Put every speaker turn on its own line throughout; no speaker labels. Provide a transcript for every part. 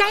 លេ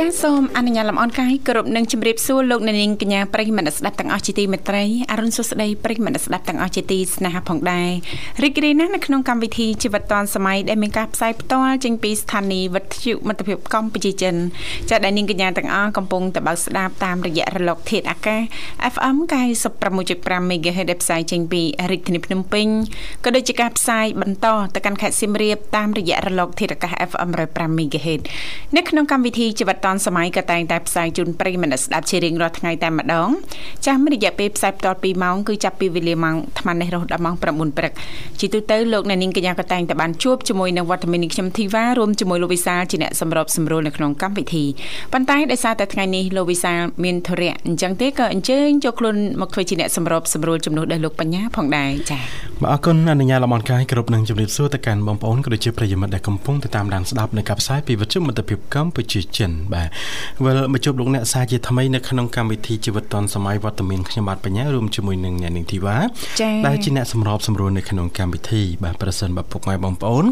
ចាសសូមអនុញ្ញាតលំអរកាយគ្រប់នឹងជម្រាបសួរលោកអ្នកនាងកញ្ញាប្រិយមិត្តអ្នកស្ដាប់ទាំងអស់ជាទីមេត្រីអរុនសុស្ដីប្រិយមិត្តអ្នកស្ដាប់ទាំងអស់ជាទីស្នេហាផងដែររីករាយណាស់នៅក្នុងកម្មវិធីជីវិតទាន់សម័យដែលមានការផ្សាយផ្ទាល់ចេញពីស្ថានីយ៍វិទ្យុមិត្តភាពកម្ពុជាចិនចាសដែលនាងកញ្ញាទាំងអស់កំពុងតបស្ដាប់តាមរយៈរលកធាតុអាកាស FM 96.5 MHz ដែលផ្សាយចេញពីរាជធានីភ្នំពេញក៏ដូចជាការផ្សាយបន្តទៅកាន់ខេត្តសៀមរាបតាមរយៈរលកធាតុអាកាស FM 105 MHz នៅក្នុងកម្មវិធីជីវិតឌុនសម័យក៏តែងតែផ្សាយជូនប្រិយមិត្តអ្នកស្ដាប់ជារៀងរាល់ថ្ងៃតែម្ដងចាស់មានរយៈពេលផ្សាយបន្ត2ម៉ោងគឺចាប់ពីវេលាម៉ោង8:00នេះរហូតដល់ម៉ោង9:00ព្រឹកជាទូទៅលោកអ្នកនាងកញ្ញាក៏តែងតែបានជួបជាមួយនឹងវត្តមាននាងខ្ញុំធីវ៉ារួមជាមួយលោកវិសាលជាអ្នកសម្របសម្រួលនៅក្នុងកម្មវិធីប៉ុន្តែដោយសារតែថ្ងៃនេះលោកវិសាលមានធុរៈអញ្ចឹងទេក៏អញ្ជើញចូលខ្លួនមកធ្វើជាអ្នកសម្របសម្រួលជំនួសដល់លោកបញ្ញាផងដែរចា៎
បាទអរគុណអនុញ្ញាតលំអរកាយគ្រប់នឹងជម្រាបសួរទៅកាន់បងប្អូនក៏ដូចជាប្រិយមិត្តដែលកំពុងទៅតាមដានស្ដាប់នៅការផ្សាយពីវិទ្យុមិត្តភាពកម្ពុជាចិនបាទវិលមកជួបលោកអ្នកសាជាថ្មីនៅក្នុងកម្មវិធីជីវិតឌុនសម័យវត្តមានខ្ញុំបាទបញ្ញារួមជាមួយនឹងអ្នកនាងធីវ៉ា
ចា៎
ដែលជាអ្នកសម្របសម្រួលនៅក្នុងកម្មវិធីបាទប្រសិនបើពុកម៉ែបងប្អូន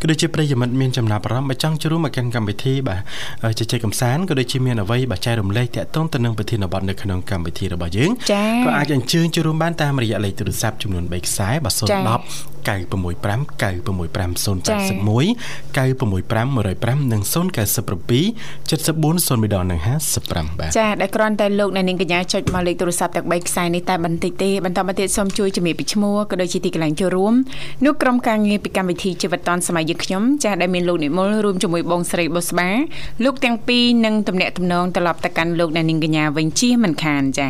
ក៏ដូចជាប្រិយមិត្តមានចំណាប់អារម្មណ៍មកចង់ចូលរួមមកកាន់កម្មវិធីបាទអឺជជែកកម្សាន្តក៏ដូចជាមានអ្វីបាទចែករំលែកតាក់ទងទៅនឹងប្រធានបទនៅក្នុងកម្មវិធីរបស់យើង
ចា៎
ក៏អាចអញ្ជើញចូលរួមបានតាមរយៈលេខទូរស័ព្ទចំនួន3ខ្សែបាទ
ចា៎
010 965
ច
965 081 965 105និង097 74 01និង55បាទ
ាដែលគ្រាន់តែលោកអ្នកនាងកញ្ញាចុចមកលេខទូរស័ព្ទទាំង3ខ្សែនេះតែបន្តិចទេបន្តមកទៀតសូមជួយជំរាបពីឈ្មោះក៏ដូចជាទីកន្លែងចូលរួមនោះក្រុមការងារពីកម្មវិធីជីវិតឌុនសម័យយើងខ្ញុំចាដែលមានលោកនិមលរួមជាមួយបងស្រីបុស្បាលោកទាំងពីរនឹងទំនាក់ទំនងត្រឡប់ទៅកាន់លោកអ្នកនាងកញ្ញាវិញជាមិនខានចា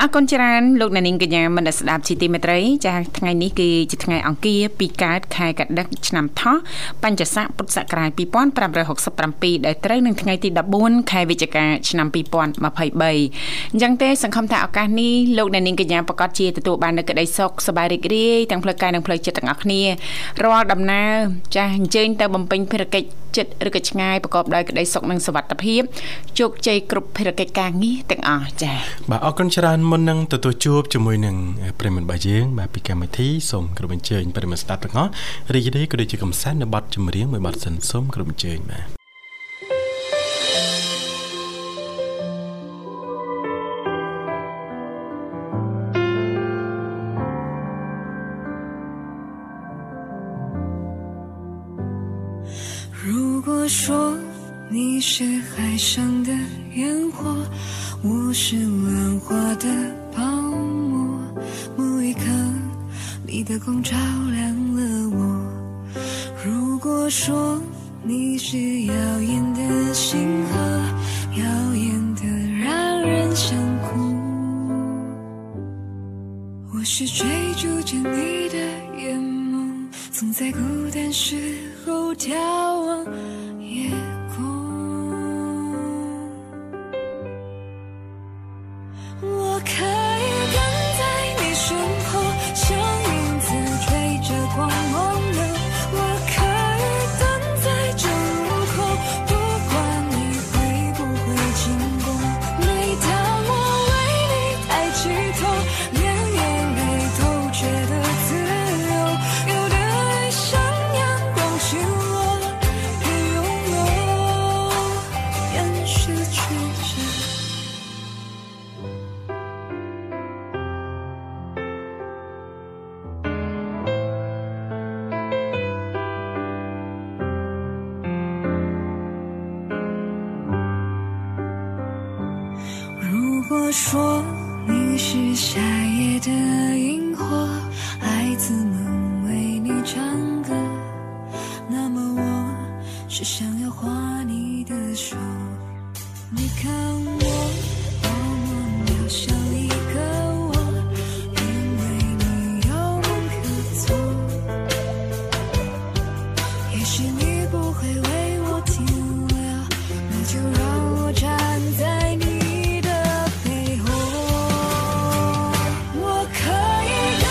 អរគុណច្រើនលោកអ្នកនាងកញ្ញាមិនស្ដាប់ជីទីមេត្រីចាថ្ងៃនេះគឺជាថ្ងៃអង្គារពីកើតខែកដិកឆ្នាំថោះបញ្ញស័កពុទ្ធសករាជ2567ដែលត្រូវនឹងថ្ងៃទី14ខែវិច្ឆិកាឆ្នាំ2023អញ្ចឹងទេសង្ឃឹមថាឱកាសនេះលោកអ្នកនាងកញ្ញាប្រកាសជាទទួលបាននូវក្តីសុខសប្បាយរីករាយទាំងផ្លូវកាយនិងផ្លូវចិត្តទាំងអស់គ្នារាល់ដំណើរចាស់អញ្ជើញទៅបំពេញភារកិច្ចចិត្តឬក៏ឆ្ងាយប្រកបដោយក្តីសុខនិងសុវត្ថិភាពជោគជ័យគ្រប់ភារកិច្ចការងារទាំងអស់ចា៎
បាទអរគុណច្រើនមុននឹងទទួលជួបជាមួយនឹងប្រិយមិត្តរបស់យើងបាទពីកម្មវិធីសូមគ្រប់អញ្ជើញប្រិយមិត្តស្ដាប់ទាំងអស់រីករាយក៏ដូចជាកម្សាន្តនៅប័ណ្ណចម្រៀងមួយប័ណ្ណសិនសូមគ្រប់អញ្ជើញបាទ
如果说你是海上的烟火，我是浪花的泡沫，某一刻你的光照亮了我。如果说你是耀眼的星河，耀眼的让人想哭，我是追逐着你的眼眸，总在孤单时候眺望夜空。我可以跟在你身后，像影子追着光梦游。我可以等在这路口，不管你会不会经过。每当我为你抬起头，连眼泪都觉得自由。有的爱像阳光倾落，你拥有，便失去着。如果说你是夏夜的萤火，孩子们为你唱歌，那么我只想要画你的手。你看我，多么渺小一个我，因为你有梦可做。也许你不会为我停留，那就让我站在你的背后。我可以跟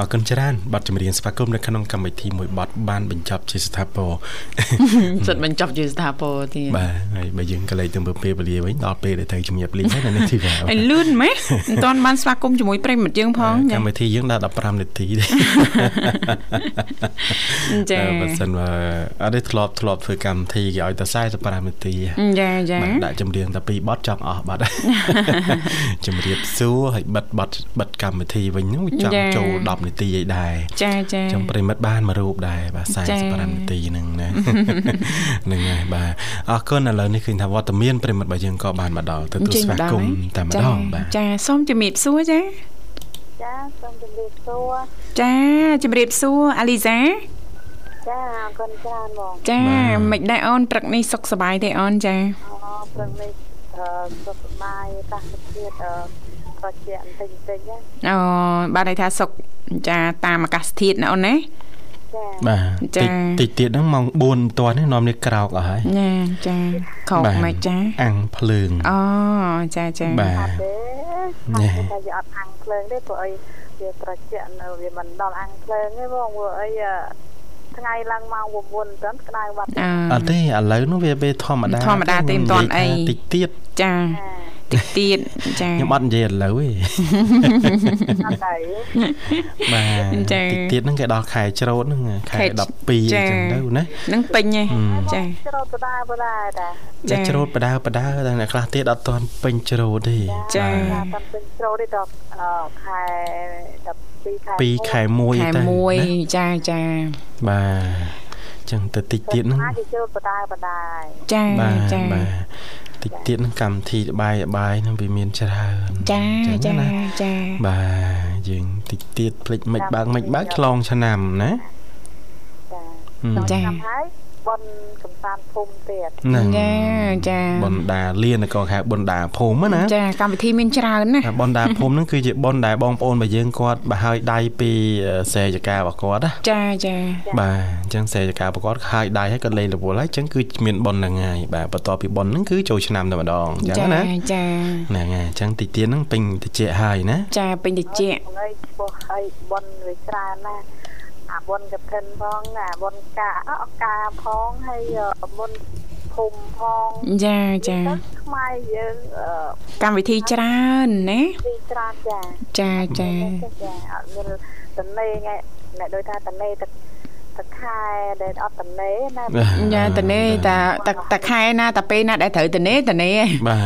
អរគុណច្រើនប័ណ្ណចម្រៀងស្វាគមន៍នៅក្នុងកម្មវិធីមួយប័ណ្ណបានបញ្ចប់ជាស្ថាពរ
សិតបញ្ចប់ជាស្ថាពរទៀត
បាទហើយបើយើងក៏លេចទៅមើលពេលវេលាវិញដល់ពេលដែលត្រូវជំរាបលេង ហើយនៅនេះទីវ៉ា
ហើយលឿនមែនមិនតាន់បានស្វាគមន៍ជាមួយប្រិយមិត្តយើងផង
បាទកម្មវិធីយើងដល់15នាទីទេ
ចា
បើសិនបើអត់ទេធ្លាប់ធ្លាប់ធ្វើកម្មវិធីគេឲ្យតែ45នាទី
ចាចា
បាទដាក់ចម្រៀងតែពីរបទចប់អស់ បាត់ ជំរាបសួរហើយបិទបទបិទកម្មវិធីវិញហ្នឹងចង់ចូល10នាទីឲ្យដែរ
ចាចា
ចឹងប្រិមិត្តបានមួយរូបដែរបាទ45នាទីហ្នឹងណា ហ្នឹងហើយបាទអរគុណឥឡូវនេះឃើញថាវត្តមានប្រិមិត្តរបស់យើងក៏បានមកដល់ទទួលស្វាគមន៍តែម្ដងបាទ
ចាសូមជំរាបសួរចា
ចាសូមជម្រាបសួរ
ចាជំរាបសួរអាលីសា
ចាអរគុណច្រើនបង
ចាមិនដែរអូនព្រឹកនេះសុខសប្បាយទេអូនចា
អូព្រឹកនេះអឺសុខសប្បាយតាសុខភាពអឺក៏ជាក់បន្តិចបន្តិចណា
អូបានន័យថាសុខចាតាមអាកាសធាតុណាអូនណា
ចា
បាទ
ចា៎
តិចតិចទៀតហ្នឹងម៉ោង4បន្ទាន់នេះនាំនេះក្រោកអស់ហើយ
ណាចាខោក
បាទ
មកចា
អាំងភ្លើង
អូចាចា
បាទ
ទេ
ញ៉េ
ខ្ញុំថាវាអត់អាំងភ្លើងទេព្រោះអីវាត្រជាក់នៅវាមិនដល់អាំងភ្លើងទេបងព្រោះអីអឺថ្ងៃឡើងម៉ោង9អញ្ចឹងក្តៅបាត់
អឺ
អត់ទេឥឡូវនោះវាពេលធម្មតា
ធម្មតាទេមិនទាន់អី
និយាយថាតិ
ចាតិ
ចទៀត
ចទៀតចា
ខ្ញុំអត់និយាយឥឡូវ ទេ
អត់ដែរ
បាទ
ចា
តិចទៀតហ្នឹងគេដល់ខែច្រូតហ្នឹងខែ
ខែ
12អញ្
ចា៎
ចឹងទៅណា
នឹងពេញហ
ហឹម
៎ចា
ច្រត់បដាបដាតា
ចា៎
ចាច្រូតបដើបដើតែអ្នកខ្លះទៀតអត់ទាន់ពេញច្រូតទេ
ចា
តាមតាមពេញជ្រោតទេដល់អឺខែ12ខែ
ពីរខែមួយ
ខែ
ទៅណា
1ចាចា
បាទអញ្ចឹងទៅតិចទៀតហ្នឹង
អាចជិលបដាបដាឯង
ចា
បាទ
ចា
បាទតិចទៀតហ្នឹងកម្មវិធីបាយបាយហ្នឹងវាមានច្រើន
ចា
អ
ចា
ញ្ងណា
ចា
បាទយើងតិចទៀតភ្លេចមិនបើកមិនបើកឆ្លងឆ្នាំណា
ចា
ហឹម
ចា
ចាំហើយបនកំសាន្តភូមិទៀត
ហ្នឹង
ចាចា
បុណ្យដាលៀនក៏ហៅបុណ្យដាភូមិណា
ចាកម្មវិធីមានច្រើនណាស់
អាប៉ុនដាភូមិហ្នឹងគឺជាប៉ុនដែលបងប្អូនរបស់យើងគាត់បើហើយដៃពីអឺសេចក្ការរបស់គាត់ណា
ចាចា
បាទអញ្ចឹងសេចក្ការរបស់គាត់ហើយដៃហើយគាត់លេងរវល់ហើយអញ្ចឹងគឺមានប៉ុនហ្នឹងហើយបាទបន្ទាប់ពីប៉ុនហ្នឹងគឺចូលឆ្នាំតែម្ដងអញ្ចឹងណា
ចា
ហ្នឹងហើយអញ្ចឹងតិចទៀតហ្នឹងពេញតិចហើយណា
ចាពេញតិច
ថ្ងៃឈ្មោះឲ្យបនវាច្រើនណាស់អាបនកឋិនផងអាបនកាអអកាផងហើយអាបនភូមិផង
ចាចា
ទៅខ្មែរយើងអឺ
កម្មវិធីច្រើនណា
ពីច្រើនចា
ចាចា
ចាអត់មានតនេថ្ងៃអ្នកដូចថាតនេទឹកទឹកខែដែលអត់តនេណា
យ៉ាតនេតាតាតាខែណាតាពេលណាដែលត្រូវតនេតនេឯង
បា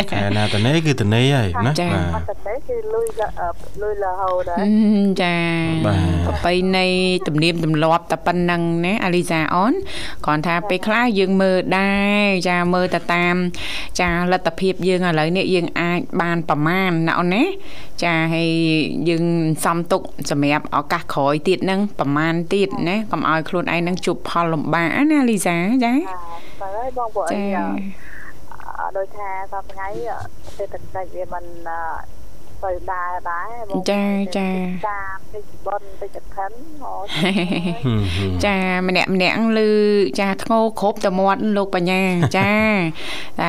ទខែណាតនេគឺតនេហើយណា
ចា៎
បាទ
អត់តនេគឺលុយលអឺលុយលរហូតដែរ
ចា
បាទ
ប្របីនៃទំនៀមទម្លាប់តែប៉ុណ្ណឹងណាអាលីសាអូនគ្រាន់ថាពេលខ្លះយើងមើលដែរចាមើលទៅតាម ចាលទ្ធភាពយើងឥឡូវនេះយើងអាចបានប្រមាណណាអូនណាចាហើយយើងសំទុកសម្រាប់ឱកាសក្រោយទៀតហ្នឹងប្រមាណទៀតណាកុំឲ្យខ្លួនឯងនឹងជួបផលលំបាកណាអាលីសាចា
បាទហើយបងប្អូន
ចា
អីអឺដូចថាសប្តាហ៍ថ្ងៃអឺសេដ្ឋកិច្ចវាមិនអឺទៅដើរដែរបង
ចាចា
តាមតិចបនតិចខិនអូ
ហឹមហឹម
ចាម្នាក់ម្នាក់ហ្នឹងលឺចាធ្ងោគ្រប់តមាត់លោកប ញ្ញា ចាតែ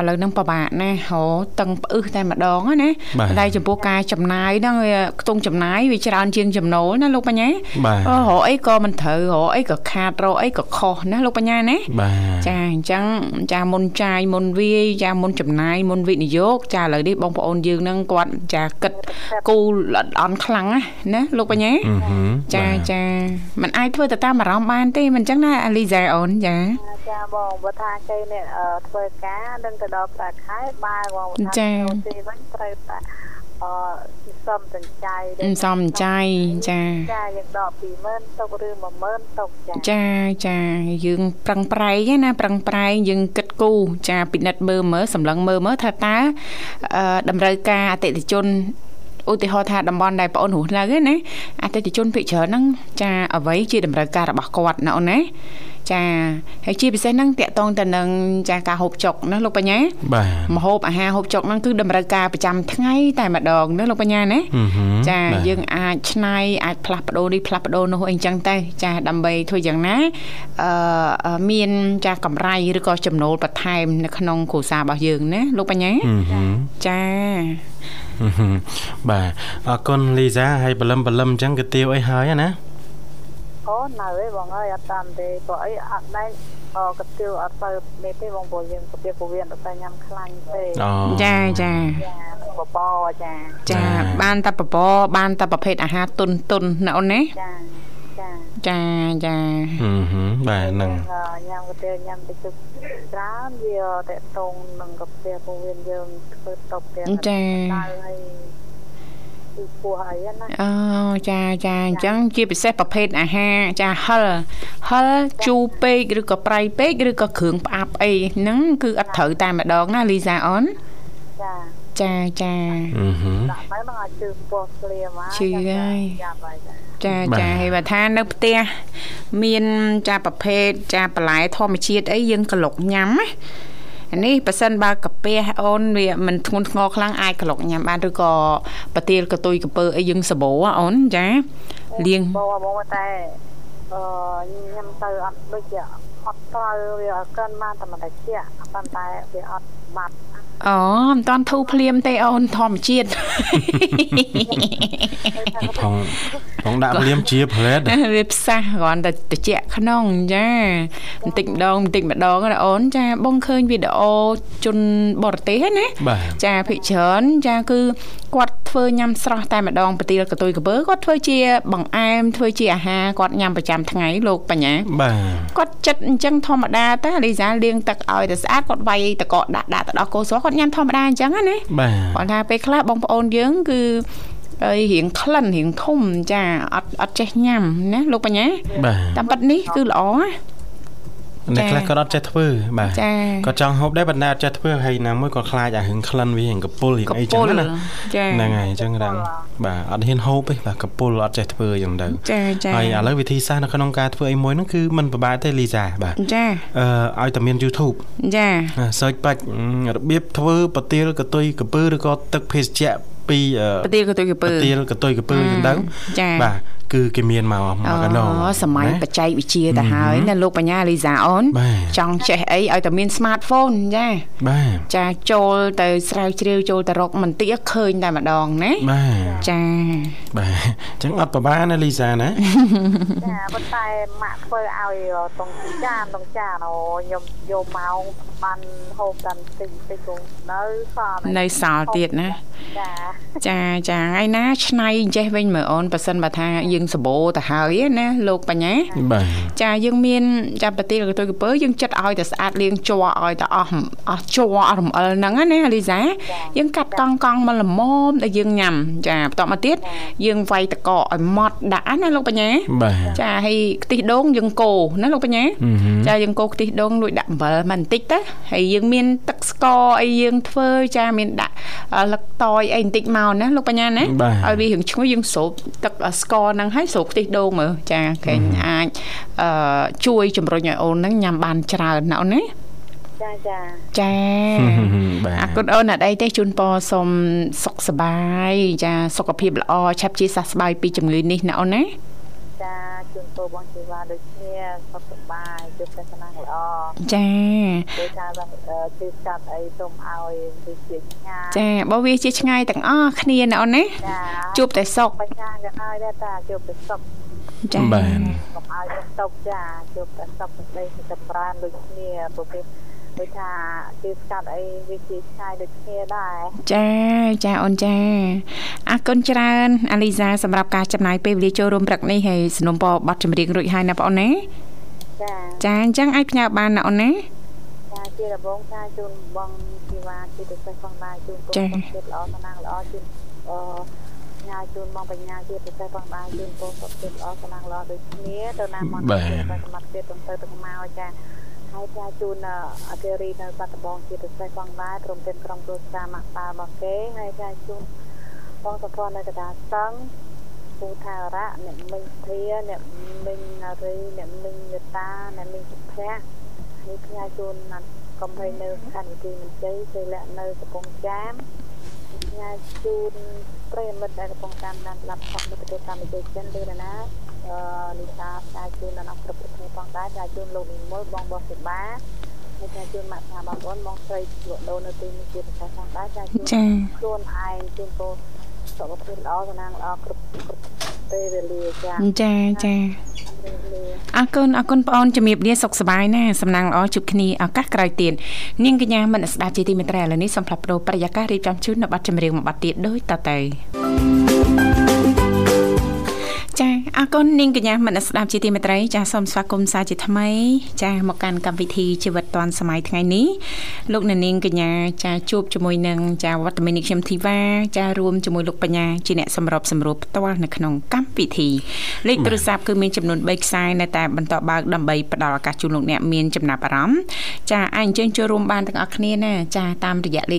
ឥឡូវហ្នឹងពិបាកណាស់ហោតឹងផ្អឹសតែម្ដងហ្នឹងណា
បាទ
ប៉ុន្តែចំពោះការចំណាយហ្នឹងវាខ្ទង់ចំណាយវាច្រើនជាងចំណូលណាលោកបញ្ញា
បាទ
អូរកអីក៏មិនត្រូវរកអីក៏ខាតរកអីក៏ខុសណាលោកបញ្ញាណា
បាទ
ចាអញ្ចឹងចាមុនចាយមុនវាយចាមុនចំណាយមុនវិនិយោគចាឥឡូវនេះបងប្អូនយើងហ្នឹងគាត់ចាគិតគូលអត់អន់ខ្លាំងណាស់ណាលោកបញ្ញា
អឺហឹម
ចា
បាទ
ចាมันអាចធ្វើទៅតាមអារម្មណ៍បានទេមិនចឹងណាអាលីសាអូនចា
យចាបងបើថាគេនេះអឺធ្វើការនឹងទៅដល់ប្រាក់ខែបើបងបើថាចូលទីវិញត្រូវតែអឺសំសញ្ចៃ
អ៊ឹមសំចៃចា
ចាយើងដក20000ຕົកឬ10000ຕົកចា
ចាចាយើងប្រឹងប្រែងហ្នឹងណាប្រឹងប្រែងយើងគិតគូរចាពិនិត្យមើលមើលសម្លឹងមើលមើលថាតើអឺតម្រូវការអតិថិជនឧទាហរណ៍ថាតំបន់ដែលបងអូនរស់នៅហ្នឹងណាអតិថិជនភាគច្រើនហ្នឹងចាអ្វីជាតម្រូវការរបស់គាត់ណាអូនណា ចាហើយជាពិសេសហ្នឹងតាក់តងទៅនឹងចាការហូបចុកណាលោកបញ្ញា
បាទ
មហូបអាហារហូបចុកហ្នឹងគឺតម្រូវការប្រចាំថ្ងៃតែម្ដងណាលោកបញ្ញាណា
អឺហឺ
ចា
បាទ
យើងអាចឆ្នៃអាចផ្លាស់ប្ដូរនេះផ្លាស់ប្ដូរនោះអីចឹងទៅចាដើម្បីធ្វើយ៉ាងណាអឺមានចាកម្រៃឬក៏ចំណូលបន្ថែមនៅក្នុងគ្រួសាររបស់យើងណាលោកបញ្ញា
អឺហឺ
ចា
អឺហឹមបាទអរគុណលីសាហើយបលឹមបលឹមអញ្ចឹងគឺទាវអីហើយណា
អូនៅឯងបងអើយអត់តាមទេព្រោះអីអត់ដែរអកន្ទាវអត់ទៅមេទេបងព្រោះយើងទៅពវៀនទៅញ៉ាំខ្លាញ់ទេ
អូ
ចាចា
ចាបបរចា
ចា
ចា
បានតែបបរបានតែប្រភេទអាហារទុនទុនណាអូនណា
ចាចា
ចាចា
អឺហឹមបាទហ្នឹង
អឺញ៉ាំកន្ទាវញ៉ាំតិចទឹកច្រើនវាតកតងនឹងកាពវៀនយើងធ្វើតប់ទៀត
ចា
ដល់ហើយគឺពោះអីណា
អូចាចាអញ្ចឹងជាពិសេសប្រភេទអាហារចាហិលហិលជូរពេកឬក៏ប្រៃពេកឬក៏គ្រឿងផ្អាប់អីហ្នឹងគឺអត់ត្រូវតែម្ដងណាលីសាអូន
ចា
ចាចា
អឺហឹម
ដាក់ទៅបងអាចជឺពោះស្លៀមមក
ជឿហើយ
យ៉ាប់ហើយចា
ចា
បាទ
ចាហើយបើថានៅផ្ទះមានចាប្រភេទចាបន្លែធម្មជាតិអីយើងក្លុកញ៉ាំណាអានេះប៉ះសិនបើកាពះអូនវាមិនធ្ងន់ធ្ងរខ្លាំងអាចក្លុកញ៉ាំបានឬក៏ប្រទាលកតុយកពើអីយើងសបោហ៎អូនចាលាង
បងបងតែអឺញ៉ាំទៅអត់ដូចជាអត់ត្រូវវាអត់កិនបានតែមួយតិចប៉ុន្តែវាអត់បាត់
អូមិនតាន់ធូរភ្លាមទេអូនធម្មជាតិ
ផងផងដាក់លៀមជាផ្លែត
វាផ្សះគ្រាន់តែត្រជាក់ក្នុងចាបន្តិចម្ដងបន្តិចម្ដងណាអូនចាបងឃើញវីដេអូជនបរទេសហ្នឹងណា
បាទ
ចាភិកច្រើនចាគឺគាត់ធ្វើញ៉ាំស្រស់តែម្ដងប្រទាលកតុយកពើគាត់ធ្វើជាបង្អែមធ្វើជាអាហារគាត់ញ៉ាំប្រចាំថ្ងៃលោកបញ្ញា
បាទ
គាត់ចិត្តអញ្ចឹងធម្មតាតាលីសាលាងទឹកឲ្យតែស្អាតគាត់វាយតកកដាក់ដាក់ទៅដល់កូនស្រស់គាត់ញ៉ាំធម្មតាអញ្ចឹងណាណាគា
បាទ
ត់ថាពេលខ្លះបងប្អូនយើងគឺអីរៀងក្លិនរៀងធំចាអត់អត់ចេះញ៉ាំណាលោកបញ្ញា
បាទ
តាមពិតនេះគឺល្អណា
អ្នកខ្លះគាត់អត់ចេះធ្វើបាទ
ចា
គាត់ចង់ហូបដែរប៉ុន្តែអត់ចេះធ្វើហើយណាមួយគាត់ខ្លាចអារឿងក្លិនវារឿងកពុលរឿងអី
កពុ
ចឹង
ល
ណា
ចា
ហ្នឹងហើយអញ្ចឹងរ៉ាំបាទអត់ហ៊ានហូបទេបាទកពុលអត់ចេះធ្វើអញ្ចឹងទៅ
ចាចា
ហើយឥឡូវវិធីសាស្ត្រនៅក្នុងការធ្វើអីមួយហ្នឹងគឺมันពិបាកទេលីសាបាទ
ចា
អឺឲ្យតែមាន YouTube
ចា
សូចបាច់អឺរបៀបធ្វើប្រទាលកតុយកពើឬក៏ទឹកភេសជ្ជៈពីអឺ
ប្រទាលកតុយកពើ
ប្រទាលកតុយកពើចឹងទៅ
ចា
បាទគឺគេមានមកមកកន្លង
អូសម័យ
ណា
បច្ចេកវិទ្យាទៅហើយណាលោកបញ្ញាលីសាអូន
បាទ
ចង់ចេះអីឲ្យតែមាន smartphone ចា
បាទ
ចាចូលទៅស្រាវជ្រាវចូលទៅរកមិនតិចឃើញតែម្ដងណា
បាទ
ចា
បាទអញ្ចឹងអត់ប្រហែលណាលីសាណា
ចាប៉ុន្តែម៉ាក់ធ្វើឲ្យតង់ចានតង់ចានអូខ្ញុំយកម៉ោងបានហូបតាមតិចតិចគង់នៅខំ
នៅសាលទៀតណា
ចា
ចាចាថ្ងៃណាឆ្នៃចេះវិញមើលអូនប៉ះសិនបើថាយើងសបោទៅហើយណាលោកបញ្ញា
បាទ
ចាយើងមានចាប្រតិលកតុយកពើយើងចិត្តឲ្យតែស្អាតលាងជ័រឲ្យតែអស់អស់ជ័រអស់រំអិលហ្នឹងណាណាលីសាយើងកាត់កង់កង់មកល្មមដែលយើងញ៉ាំចាបន្តមកទៀតយើងវាយតកកឲ្យម៉ត់ដាក់ណាលោកបញ្ញា
បាទ
ចាហើយខ្ទិះដូងយើងកូរណាលោកបញ្ញា
អឺហឹម
ចាយើងកូរខ្ទិះដូងរួចដាក់អំបិលមកបន្តិចទៅហើយយើងមានទឹកស្ករអីយើងធ្វើចាមានដាក់អឺលឹកតយអីបន្តិចមកណាលោកបញ្ញាណា
បាទ
ឲ្យវារៀងឈ្ងុយយើងស្រូបទឹកអឺស្ករហ្នឹងហើយស្រូបខ្ទិះដូងមើលចាកេងអាចអឺជួយជំរុញឲ្យអូនហ្នឹងញ៉ាំបានច្រើនណាអូនណា
ចាចា
ចា
បាទ
អរគុណអូនអត់អីទេជូនពរសូមសុខសប្បាយចាសុខភាពល្អឆាប់ជាសះស្បើយពីជំងឺនេះណាអូនណា
ចាជូនពរបងជីវ៉ាដូចគ្នាសុខសប្បាយជួបតែសំណាងល្អ
ចា
ដូចថាបងទីស្កាត់អីទុំឲ្យវាជាញ៉ា
ចាបើវាជាឆ្ងាយទាំងអស់គ្នាណាអូនណា
ចា
ជួបតែសុខ
បញ្ញាក៏ឲ្យដែរតាជួបតែសុខ
ចា
បាទ
កុំឲ្យខ្ញុំຕົកចាជួបតែຕົកសម្ដីសម្ប្រានដូចគ្នាព្រោះវាដូចថាជឿស្កាត់អីវាជាឆ្ងាយដូចគ្នាដែរ
ចាចាអូនចាអរគុណច្រើនអាលីសាសម្រាប់ការចំណាយពេលវេលាចូលរួមព្រឹកនេះហើយสนុំពរប័ណ្ណចម្រៀងរួចហើយណាបងអូនណាចា
ចា
អញ្ចឹងអាចផ្ញើបានណាអូនណា
ចាជារបងចាជូនបងជីវ៉ាជាពិសេសផងដែរជូនគូ
ចា
សុខភាពល្អសំណាងល្អជូនអឺញ៉ាជូនបងបញ្ញាជាពិសេសផងដែរជូនគូសុខភាពល្អសំណាងល្អដូចគ្នាទៅណាមកទៅទៅសមត្ថភាពទៅទៅទៅមកចាហើយចាជូនអឺអធិរីនៅបាត់ដំបងជាពិសេសផងដែរព្រមទាំងក្រុមគ្រួសារមកតារបស់គេហើយចាជូនបងសុភ័ណ្ឌនៅកណ្ដាលសឹង ពូថារៈអ្នកមិញព្រាអ្នកមិញនារីអ្នកមិញមេត្តាអ្នកមិញសុភ័ក្រហើយផ្ញើជូនណាត់កំភៃនៅខណ្ឌទីមិនជ័យទៅលក្ខនៅកំពង់ចាមផ្ញើជូនប្រិយមិត្តដែលកំពុងតាមដានស្ដាប់ផងនៅប្រទេសកម្ពុជាចិនឬណាណាអឺលីសាផ្ញើជូនដល់អ្នកគ្រប់ប្រភេទផងដែរផ្ញើជូនលោកនិមលបងបោះសេបាហើយផ្ញើជូនម៉ាក់ថាបងប្អូនមកស្រីលក់ដូរនៅទីនេះជាប្រចាំផងដែរផ្ញើជូន
ចា
ខ្លួនឯងជូនកូនសុខភាពល្អសំណាងល្អគ្រប់គ្រប់ពេលវេលាចា
ចាចា
ពេលវេលា
អរគុណអរគុណបងអូនជំរាបលាសុខសប្បាយណាសំណាងល្អជួបគ្នាឱកាសក្រោយទៀតនាងកញ្ញាមិនស្ដាប់ជាទីមេត្រីឥឡូវនេះសូមផ្លាប់ប្រូបរិយាកាសរៀបចំជូននៅប័ណ្ណចម្រៀងមួយប័ណ្ណទៀតដូចតទៅចាអរគុណនាងកញ្ញាមិនស្ដាប់ជាទីមេត្រីចាសូមស្វាគមន៍សាជាថ្មី ចាមកកាន់កម្មវិធីជីវិតឌွန်សម័យថ្ងៃនេះលោកអ្នកនាងកញ្ញាចាជួបជាមួយនឹងចាវត្តមាននេះខ្ញុំធីវ៉ាចារួមជាមួយលោកបញ្ញាជាអ្នកសម្របសម្រួលផ្ទាល់នៅក្នុងកម្មវិធីលេខទូរស័ព្ទគឺមានចំនួន3ខ្សែនៅតែបន្តបើកដើម្បីផ្ដល់ឱកាសជូនលោកអ្នកមានចំណាប់អារម្មណ៍ចាអាចអញ្ជើញចូលរួមបានទាំងអស់គ្នាណាចាតាមរយៈលេ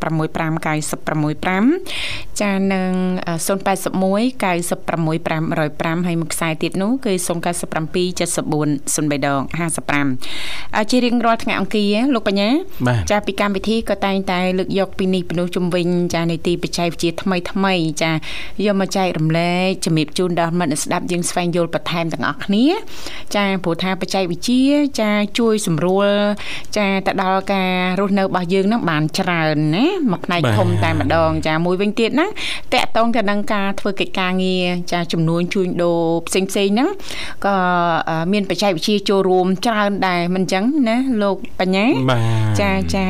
ខ010965965ចានឹង081 96505ហើយមួយខ្សែទៀតនោះគឺ0977403055ដង55អឺជារៀងរាល់ថ្ងៃអង្គារលោកបញ្ញា
បាទ
ចាស់ពីកម្មវិធីក៏តែងតែលើកយកពីនេះពីនោះជំវិញចានីតិបច្ចេកវិទ្យាថ្មីថ្មីចាយកមកចែករំលែកជំរាបជូនដល់មិត្តអ្នកស្ដាប់យើងស្វែងយល់បន្ថែមទាំងអស់គ្នា ចាព្រោះថាបច្ចេកវិទ្យាចាជួយសម្រួលចាទៅដល់ការរស់នៅរបស់យើងហ្នឹងបានច្រើនណាមួយផ្នែក
បាទ
ធំតែម្ដងចាមួយវិញទៀតហ្នឹងតកតងទៅនឹងការធ្វើកិច្ចការងារចាចំនួនជួញដូរផ្សេងផ្សេងហ្នឹងក៏អឺមានបច្ចេកវិទ្យាចូលរួមច្រើនដែរមិនអញ្ចឹងណាលោកបញ្ញា
បាទ
ចាចា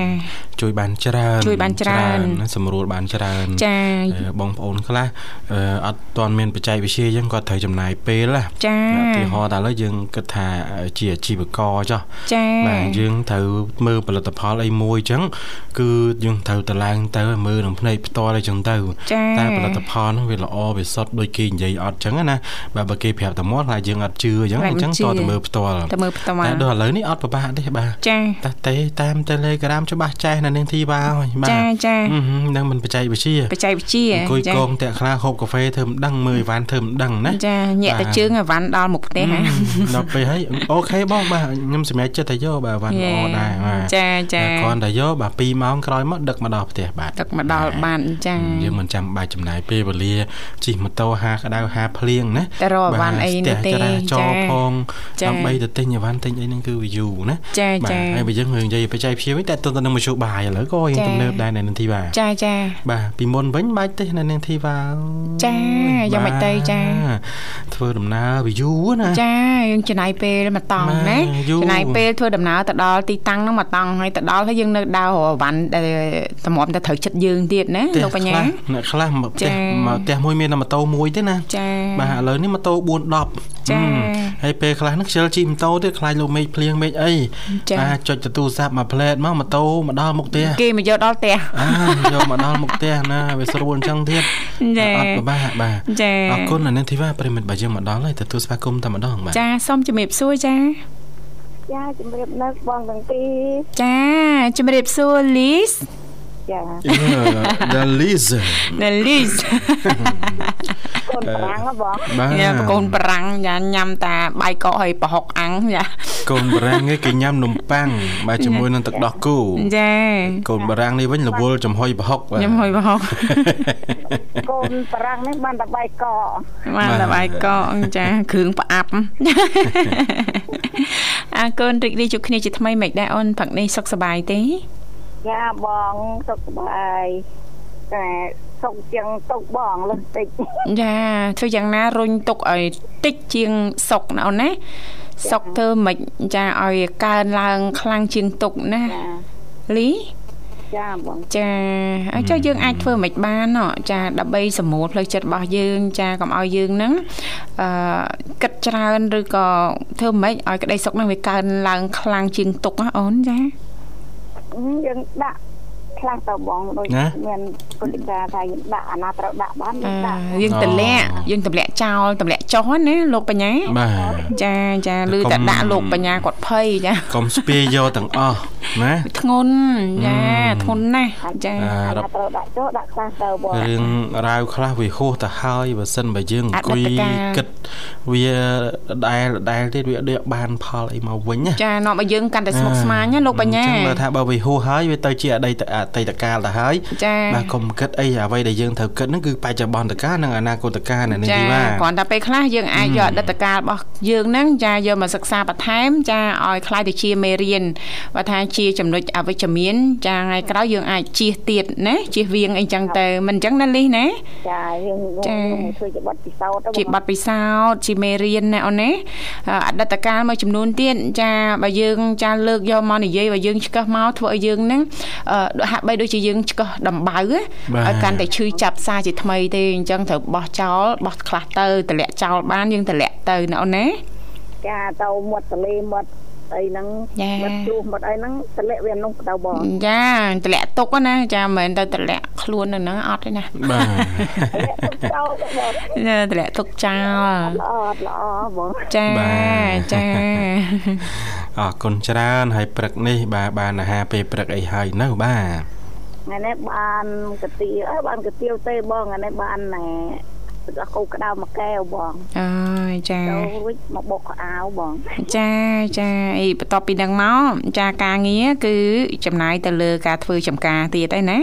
ជួយបានច្រើន
ជួយបានច្រើន
ណាសម្រួលបានច្រើន
ចា
អឺបងប្អូនខ្លះអឺអត់ទាន់មានបច្ចេកវិទ្យាអញ្ចឹងគាត់ត្រូវចំណាយពេលណា
ចា
ឧទាហរណ៍តែឥឡូវយើងគិតថាអឺជាអាជីវករចុះ
ចា
បាទយើងត្រូវមើលផលិតផលអីមួយអញ្ចឹងគឺយើងត្រូវតឡើងទៅឲ្យមើលនឹងភ្នែកផ្ទាល់អីចឹងទៅ
ចា
តែផលិតផលហ្នឹងវាល្អវាសុទ្ធដូចគេនិយាយអត់អញ្ចឹងណាបាទបើគេប្រាប់តែមកថាយើងអត់ជឿអញ្ចឹងអញ្ចឹងតតែមើលផ្ទាល់
តែមើលផ្ទាល់
តែដល់ឥឡូវនេះអត់ប្របាក់ទេបាទ
ចា
តែទេតាម Telegram ច្បាស់ចេះណានាងធីវ៉ាហើយបាទ
ចាចា
អឺហឹមនឹងមិនបច្ចេកវិទ្យា
បច្ចេកវិទ្យា
អង្គុយកងតាក់ខ្លាហូបកាហ្វេធ្វើមិនដឹងមើលអីវ៉ាន់ធ្វើមិនដឹងណា
ចាញាក់តែជើងអីវ៉ាន់ដល់មុខផ្ទះហ៎
ដល់ពេលហើយអូខេបងបាទខ្ញុំសម្រេចចិត្តតែយកបាទវ៉ាន់
យេ
ល្អដែរបាទ
ចាចា
តែគ្រាន់តែយកបាទ2ម៉ោងក្រោយមកដឹកមកដល់ផ្ទះបាទ
ទឹកមកដល់បានចា
យើងមិនចាំបាច់ចំណាយពេលវេលាជិះម៉ូតូហាក្តៅហាភ្លៀងណា
តែរកអីវ៉ាន់អីនោះទេ
ស្ទះចរាច
ចា
រណ៍ផង
ចា
ដើម្បីទៅទិញអីវ៉ាន់ទិញអីហ្នឹងគឺវាយូរណា
ចា
បាទ
ចា
ហើយបើយើងរឿងនិយាយបច្ចេកវិទ្យាវិញតែទន្ទឹមនឹងមជ្ឈបាយឥឡូវក៏យើង
ចា
ទំនើបដែរនៅនាងធីវ៉ា
ចាចា
បាទពីមុនវិញបាច់ទេនៅនាងធីវ៉ា
ចាយ៉ាងម៉េចទៅចា
បាទធ្វើដំណើរវាយូរណា
ចាយើងចំណាយពេលមួយតង់
ម៉ែ
ណា
យូរ
ចំណាយពេលធ្វើដំណើរទៅដល់ទីតាំងហ្នឹងមួយតង់ហើយទៅដល់ហើយយើងនៅដើររកអីវ៉ាន់ដែលតម្រាំទៅត្រូវចិត្តយើងទៀតណា
ផ្ទះ
លោកបញ្ញា
ខ្លះអ្នកខ្លះមកផ្ទះ
ចា៎
មកផ្ទះមួយមានតែម៉ូតូមួយទេណា
ចា
បាទឥឡូវនេះម៉ូតូ4 10
ចា៎
ហើយពេលខ្លះហ្នឹងខ្ជិលជិះម៉ូតូទៀតខ្លាចលោកមេឃភ្លៀងមេឃអី
ចា៎
បាទចុចទៅទូរស័ព្ទមកផ្លែតមកម៉ូតូមកដល់មុខផ្ទះ
គេមកយកដល់ផ្ទះ
អាយកមកដល់មុខផ្ទះណាវាស្រួលអញ្ចឹងទៀត
ចា៎
អត់ពិបាកបាទ
ចា
អរគុណអានេះធីវ៉ាប្រិមិត្តបើយើងមកដល់ហើយទទួលស្វាគមន៍តែម្ដងបាទ
ចាសូមជំរាបសួរចា
ចាជំរាបនៅបងទាំងពីរ
ចាជំរាបសួរលីស
ចា
ដាលីស
ណាលី ស
កូនប្រាំងហ៎បង
បាទ
ញ៉ាំកូនប្រាំងញ៉ាញ៉ាំតាបាយកកហើយប្រហុកអាំងចា
កូនប្រាំងឯងគេញ៉ាំនំប៉័ងបាទជាមួយនឹងទឹកដោះគោ
ចា
កូនបារាំងនេះវិញរវល់ចំហុយប្រហុកបាទ
ញ៉ាំហើយប្រហុក
កូនប្រាំងនេះបានតែបាយកក
បានតែបាយកកចាគ្រឿងផ្អាប់ អាកូនរីករាយជួបគ្នាជាថ្មីមិនដែរអូនផឹកនេះសុខសប្បាយទេ
ចាបងសុខសប្បាយតែសុខជាងទុកបងលឹះតិច
ចាធ្វើយ៉ាងណារុញទុកឲ្យតិចជាងសុកណាអូនណាសុកធ្វើមិនចាឲ្យកើនឡើងខ្លាំងជាងទុកណា
ចា
លី
ចាបង
ចាអញ្ចឹងយើងអាចធ្វើមិនបានណោះចាដើម្បីសម្រួលផ្លូវចិត្តរបស់យើង ចាកុំឲ្យយើងហ្នឹងអឺគិតច្រើនឬក៏ធ្វើមិនឲ្យក្តីសុខហ្នឹងវាកើនឡើងខ្លាំងជាងទុកណាអូនចា
អឺយើងដាក់ខ្លះទៅបងដូចមានគុណិកាថាយើងដាក់អាណាត្រូវដាក់បានយើងដាក់
អឺយើងទម្លាក់យើងទម្លាក់ចោលទម្លាក់ចុះណាលោកបញ្ញា
បាទ
ចាចាលឺតែ
កុំ
ដាក់លោកបញ្ញាគាត់ភ័យចា
កុំស្ពាយយកទាំងអស់ ណា
ធ្ងន់ចាធ្ងន់ណាស់ចា
អាណាត្រូវដាក់ចុះដាក់ខ្លះទៅបង
រឿងរាវខ្លះវាហួសទៅហើយបើសិនបើយើងអង្គុយគិតវាដដែលដដែលទៀតវាដកបានផលអីមកវិញណា
ចានាំឲ្យយើងកាន់តែស្មុគស្មាញណាលោកបញ្ញា
អញ្ចឹងមើលថាបើវាហួសហើយវាទៅជាអតីតអតីតកាលទៅហើយ
ចា
បាទកុំគិតអីអ្វីដែលយើងត្រូវគិតហ្នឹងគឺបច្ចុប្បន្នកាលនិងអនាគតកាលណានេះ
ចា
ទេបាទ
គ្រាន់តែពេលខ្លះយើងអាចយកអតីតកាលរបស់យើងហ្នឹងចាយកមកសិក្សាបន្ថែមចាឲ្យខ្លាយទៅជាមេរៀនបើថាជាចំណុចអវិជ្ជមាន ចាថ្ងៃក្រោយយើងអាចជៀសទៀតណាជៀសវាងអីចឹងទៅមិនអញ្ចឹងណាលីសណា
ចាយើង
ចា
យើងធ្វើជាបទពិសោធន៍ទៅ
ជា
បង
ប័ណ្ណពិសោធន៍ជាមេរៀនណាអូនណាអអតីតកាលមួយចំនួនទៀតចាបើយើងចាលើកយកមកនិយាយបើយើងឆ្កឹះមកធ្វើឲ្យយើងហ្នឹងអឺហាក់បីដូចជាយើងឆ្កឹះដំបៅហ៎
បាទ
ឲ្យកាន់តែឈឺចាប់សារជាថ្មីទេអញ្ចឹងត្រូវបោះចោលបោះខ្លះទៅតម្លាក់ចោលបានយើងតម្លាក់ទៅណាអូនណា
ចាទៅមាត់ទន្លេមាត់អីហ្នឹង
ចា
មាត់ជួសមាត់អីហ្នឹងទម្លាក់វានោះទៅ បង
ចាតម្លាក់ទុកហ្នឹងណាចាមិនមែនទៅតម្លាក់ខ្លួននៅហ្នឹងអត់ទេណា
បាទ
ទម្លាក់ទុកចោលទៅបង
ណាតម្លាក់ទុកចោល
ល្អអត់ល្អបង
ចាចា
អរគុណច្រើនហើយព្រឹកនេះបាទបានអាហារពេលព្រឹកអីហើយនៅបាទ
ថ្ងៃនេះបានកន្ទាវអើបានកន្ទាវទេបងថ្ងៃនេះបានណែទឹកកូរក្តៅមួយកែវបង
អើយចា
ចូលរួចមកបុកខោអាវបង
ចាចាអីបន្ទាប់ពីនឹងមកចាការងារគឺចំណាយទៅលើការធ្វើចំការទៀតឯណា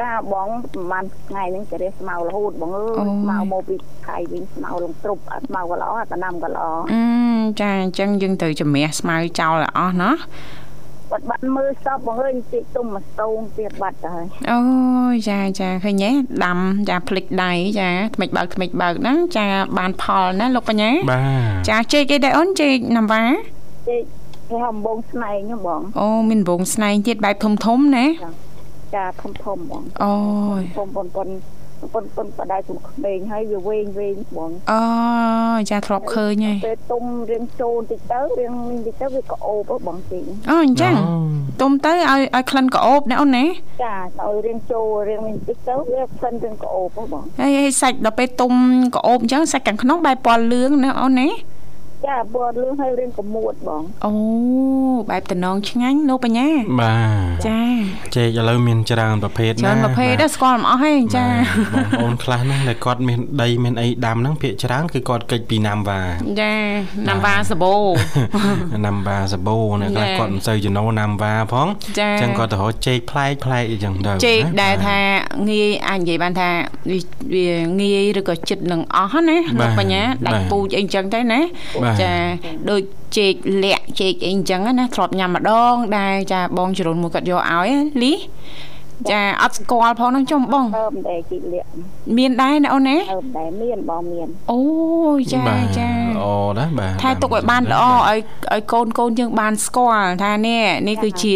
ចាបងប្រហែលថ្ងៃហ្នឹងចារះស្មៅរហូតបងអើ
អូ
យ
យ
ស្មៅមកពីខៃវិញស្មៅលងទ្រប់អត់ស្មៅក៏ល្អអត់ដំណាំក៏ល្អ
អឺចាអញ្ចឹងយើងត្រូវជំនះស្មៅចោលឲ្យអស់ណោះ
បាត់បាត់មើលសពបងអើយតិចទុំមកស្ទូងទៀតបាត់ទៅហើយ
អូយចាចាឃើញទេដាំចាផ្លិចដៃចាថ្មិចបើកថ្មិចបើកហ្នឹងចាបានផលណាលោកបញ្ញា
បាទ
ចាជែកអីដែរអូនជែកណាំវ៉ា
ចេកគេហៅអំបងស្នែងហ្នឹងបង
អូមានវងស្នែងទៀតបែបធំធំណា
ចាធំធំបង
អូយ
ធំប៉ុនប៉ុនប៉ុនប៉ុនបដៅសំក្មេងហើយវាវែងវែងបង
អូយចាធ្លាប់ឃើញហើយ
ពេលទុំរៀងចូលបន្តិចទៅរៀងនេះបន្តិចទៅវាក្អូបហ៎បងជីង
អូអញ្ចឹងទុំទៅឲ្យឲ្យក្លិនក្រអូបណាអូនណា
ចាទៅរៀងចូលរៀងនេះបន្តិចទៅវាផ្សិនទាំងក្អូបហ៎បង
ហើយហើយសាច់ដល់ពេលទុំក្អូបអញ្ចឹងសាច់ខាងក្នុងបែបពណ៌លឿងណាអូនណា
ចាពណ៌លឿងហើយរៀងក្មួតបង
អូបែបតំណងឆ្ងាញ់លោកបញ្ញា
បាទ
ចា
ចេកឥឡូវមានច្រើនប្រភេទ
ច្រើនប្រភេទដែរស្គាល់មិនអស់ហេ
បាទ
ចា
បងប្អូនខ្លះហ្នឹងដែលគាត់មានដីមានអីដាំហ្នឹងភាកច្រើនគឺគាត់កិច្ចពីណាំវ៉ា
ចាណាំវ៉ាសា បូ
ណាំវ៉ាសាបូណាខ្លះ
ចា
គាត់មិនសូវចំណូលណាំវ៉ាផង
ចា
អញ្ចឹងគាត់ទៅរកចេកប្លែកប្លែកអីចឹងទៅ
ចេក
ណា
ដែល
បាទ
ថាងាយអាចនិយាយបានថាវាវាងាយឬក៏ចិត្តនឹងអស់ហ្នឹងណា
បា
លោក
ទ
បញ្ញាដាច់
បាទ
ពូជអីអញ្ចឹងទៅណា
បាទ
ចាដូចចេកលាក់ចេកអីអញ្ចឹងណាធ្លាប់ញ៉ាំម្ដងដែរចាបងជរុនមួយគាត់យកឲ្យលីចាអត់ស្គាល់ផងហ្នឹងចំបង
ហើមដែរជីកលាក់
មានដែរណាអូនណា
ហើមដែរមានបងមាន
អូយចា
បាទ
ចា
ល្អដែរបាទ
ថែទុកឲ្យបានល្អឲ្យឲ្យកូនកូនយើងបានស្គាល់ថានេះនេះគឺជា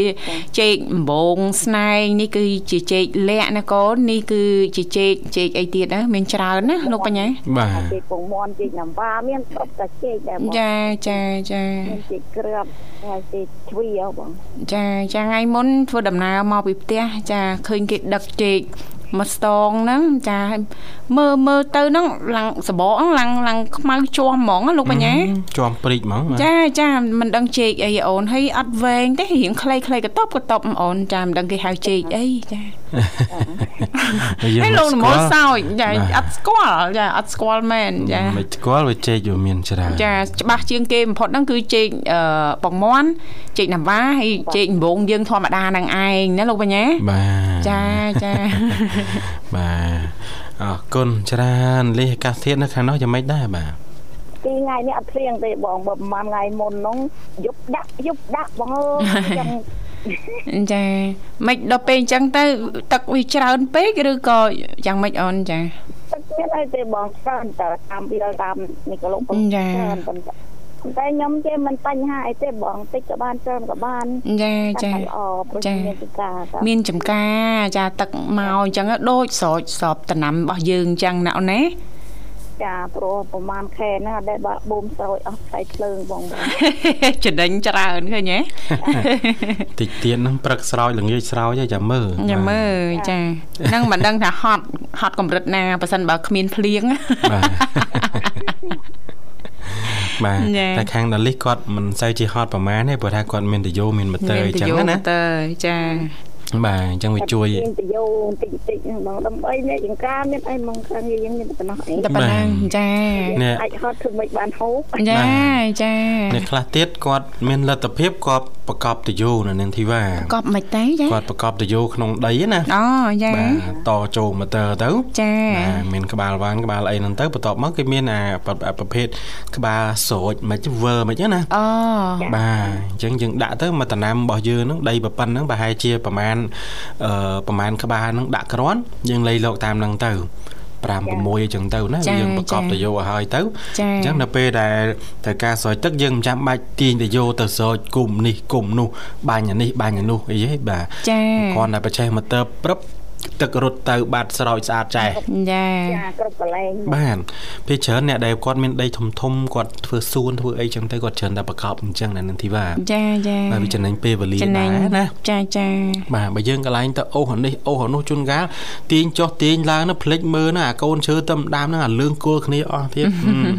ចេកដំបងស្នែងនេះគឺជាចេកលាក់ណាកូននេះគឺជាចេកចេកអីទៀតណាមានច្រើនណាលោកបញ្ញា
បាទ
ជីកពងមន់ជីកណាំវ៉ាមានគ្រប់តែជីកដែរបង
ចាចាចា
មានជីកក្របហើយជីកជ្វីហ៎បង
ចាចាថ្ងៃមុនធ្វើដំណើរមកពីផ្ទះចាឃើញគេដឹកចេកមកស្តងហ្នឹងចាមើលមើលទៅហ្នឹងឡាំងសបកហ្នឹងឡាំងឡាំងខ្មៅជាប់ហ្មងណាលោកបញ្ញា
ជាប់ព្រិចហ្មងបាទ
ចាចាមិនដឹងជែកអីអូនហើយអត់វែងទេរៀងខ្លីៗកតប់កតប់អូនចាមិនដឹងគេហៅជែកអីចា
ហើយយើង
ហើយលោកនមល
ស្គាល់
សោចចា
បាទ
អត់ស្គាល់ចាអត់ស្គាល់មែនចា
មិនស្គាល់វាចេកវាមានច្រើន
ចាច្បាស់ជាងគេបំផុតហ្នឹងគឺជែកអឺបងមន់ជែកណាំវ៉ាហើយជែកដំបងយើងធម្មតាហ្នឹងឯងណាលោកបញ្ញា
បាទ
ចាចា
បាទអរគុណច្រើនលេខអាកាសធាតុនៅខាងនោះយ៉ាងម៉េចដែរបាទ
ពីរថ្ងៃនេះអត់ភ្លៀងទេបងបើប្រហែលថ្ងៃមុនហ្នឹងយប់ដាក់យប់ដាក់បងអើយ ចឹង
ចាមិនដល់ពេលអញ្ចឹងទៅទឹកវាច្រើនពេកឬក៏យ៉ាងម៉េចអូនចា
ទឹកមានអីទេបងច្រើនតើតាមវាលតាមនេះក៏លោកបង
ចា
ច្រើនប៉ុន្តែប៉ុន្តែខ្ញុំទេមិនបញ្ហាអីទេបងតិចក៏បានច្រើនក៏បាន
ចាចា
តែល្អព្រោះ
ចា
មានទីការតើ
មានចំការចាទឹកមកអញ្ចឹងដូចស្រោចសពតំណាំរបស់យើងអញ្ចឹងណាអូនណា
ចាព្រោះប្រហែលខែណាដែលបាក់បូមស្រោចអស់ផ្ទៃភ្លើងបងបង
ចំណេញច្រើនឃើ ញហ៎
តិចទៀតហ្នឹងព្រឹកស្រោចល្ងាចស្រោចហើយចាំមើល
ញ៉ាំមើលចានឹងមិនដឹងថាហត់ហ ត់កម្រិតណាប៉ះសិនបើគ្មានភ្លៀង
បាទ បាទ
ណែ
តែខាងដាលីសគាត់មិនសូវជាហត់ប្រមាណទេព្រោះថាគាត់មានតយោមានម៉ូទ័រអ ញ្ចឹងណាណា
តើចា
បាទអញ្ចឹងវាជួយ
តែយោបន្តិចបន្តិចហ្នឹងបងដើម្បីនេះចង្ការមានអីមកខាងយើងយើងមានតែប៉ុណ្ណោះអី
តែប៉ុណ្ណឹងចា
ណែ
អាចហត់ធ្វើមិនបានហូប
ចាចា
អ្នកខ្លះទៀតគាត់មានលទ្ធភាពគាត់ប្រកបតយោនៅនឹងធីវ៉ា
កប់មិនទេចា
គាត់ប្រកបតយោក្នុងដីណា
អូចា
បាទតចូលម៉ូទ័រទៅ
ចា
បាទមានក្បាលវ៉ាងក្បាលអីហ្នឹងទៅបន្ទាប់មកគេមានអាប្រអាប្រភេទក្បាលស្រូចមិនវិលមិនហ្នឹងណា
អូ
បាទអញ្ចឹងយើងដាក់ទៅមកតំណាំរបស់យើងហ្នឹងដីប្រប៉ិនហ្នឹងប្រហែលជាប្រមាណអឺប្រមាណក្បាលហ្នឹងដាក់ក្រាន់យើងលៃលោកតាមហ្នឹងទៅ5 6អញ្ចឹងទៅណាយើងប្រកបតយោឲ្យហើយទៅ
ចា
អញ្ចឹងនៅពេលដែលត្រូវការស្រោចទឹកយើងមិនចាំបាច់ទាញតយោទៅស្រោចគុំនេះគុំនោះបាញ់អានេះបាញ់អានោះអីហីបាទ
ចា
គ្រាន់តែបច្ចេកម៉ូទ័រព្រឹបទឹករត់ទៅបាត់ស្រោចស្អាតចែះ
ចា
ចាគ្រប់កន្លែង
បានពេលច្រើនអ្នកដែលគាត់មានដីធំធំគាត់ធ្វើសួនធ្វើអីចឹងទៅគាត់ច្រើនតែប្រកបអញ្ចឹងណានឹងធីវ៉ា
ចាចា
បាទវាចំណេញពេលវេលា
ចំណេញ
ដែរណា
ចាចា
បាទបើយើងកន្លែងទៅអូសអានេះអូសអានោះជុនកាលទាញចុះទាញឡើងណាភ្លេចមើលណាអាកូនឈើតឹមដាមហ្នឹងអាលឿងគល់គ្នាអ ស់ទៀត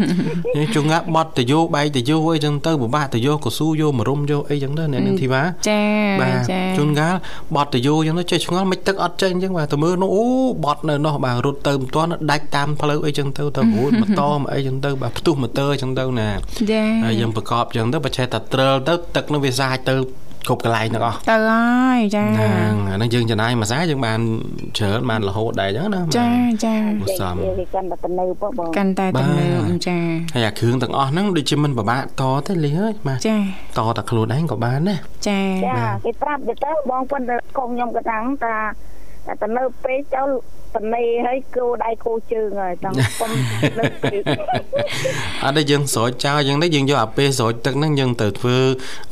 ហឹមជុនកាលបត់ទៅយោបែកទៅយោអីចឹងទៅពិបាកទៅយោកស៊ូយោមរុំយោអីចឹងទៅអ្នកនឹងធីវ៉ា
ចា
បាទ
ចា
ជួនកាលបត់ទៅយោអញ្ចឹងទៅចេះឆ្ងល់មិនទឹកអត់ចេញអញ្ចឹងបាទទៅមើលនោះអូបត់នៅនោះបាទរត់ទៅមិនទាន់ដាច់តាមផ្លូវអីអញ្ចឹងទៅទៅ រួច ម៉ូតូមកអីអញ្ចឹងទៅបាទផ្ទុះម៉ូទ័រអញ្ចឹងទៅណា
ចា
ហើយយើងប្រកបអញ្ចឹងទៅបើចេះតែត្រិលទៅទឹកនឹងវាសាចទៅគ្រប់កន្លែងទាំងអស់
ទៅហើយចា
ហ្នឹងអាហ្នឹងយើងចំណាយមួយសាយើងបានច្រើនបានរហូតដែរអញ្ចឹងណា
ចាចា
ឧស្សាហ៍
វាកាន់តែទៅនៅបងបង
កាន់តែ
បា
ទំ
ទ
នើបចា
ហើយអាគ្រឿងទាំងអស់ហ្នឹងដូចជាមិនពិបាកតទេលីអើយបាទ
ចា
តតែខ្លួនឯងក៏បានដែរ
ចា
ចាគេប្រាប់ទៅទៅបងប៉ុន្តែកងខ្ញុំក៏ដឹងថាតែទៅនៅពេកចូលត្នេហើយគោដៃគោជើង ហើយចង់ខ្ញុំ នៅពេក
អត់ទេយើងស្រោចចោលយ៉ាងនេះយើងយកអាពេលស្រោចទឹកហ្នឹងយើងទៅធ្វើ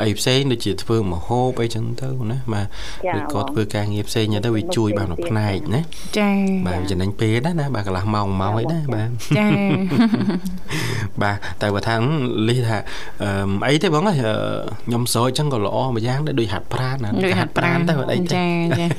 អីផ្សេងដូចជាធ្វើមហូបអីចឹងទៅណាបាទឬក៏ធ្វើការងារផ្សេងទៀតទៅវាជួយបានមួយផ្នែកណា
ចា
បាទវាចំណេញពេលដែរណាបាទកន្លះម៉ោងម៉ោងអីដែរបាទ
ចា
បាទតែបើថាអឺលីសថាអឺអីទេបងអើយអឺខ្ញុំស្រោចចឹងក៏ល្អមួយយ៉ាងដែរដូចហាត់ប្រាណណា
ដូចហាត់ប្រាណ
ទៅអត់អីទេ
ចាចា
បា
ចា
ទ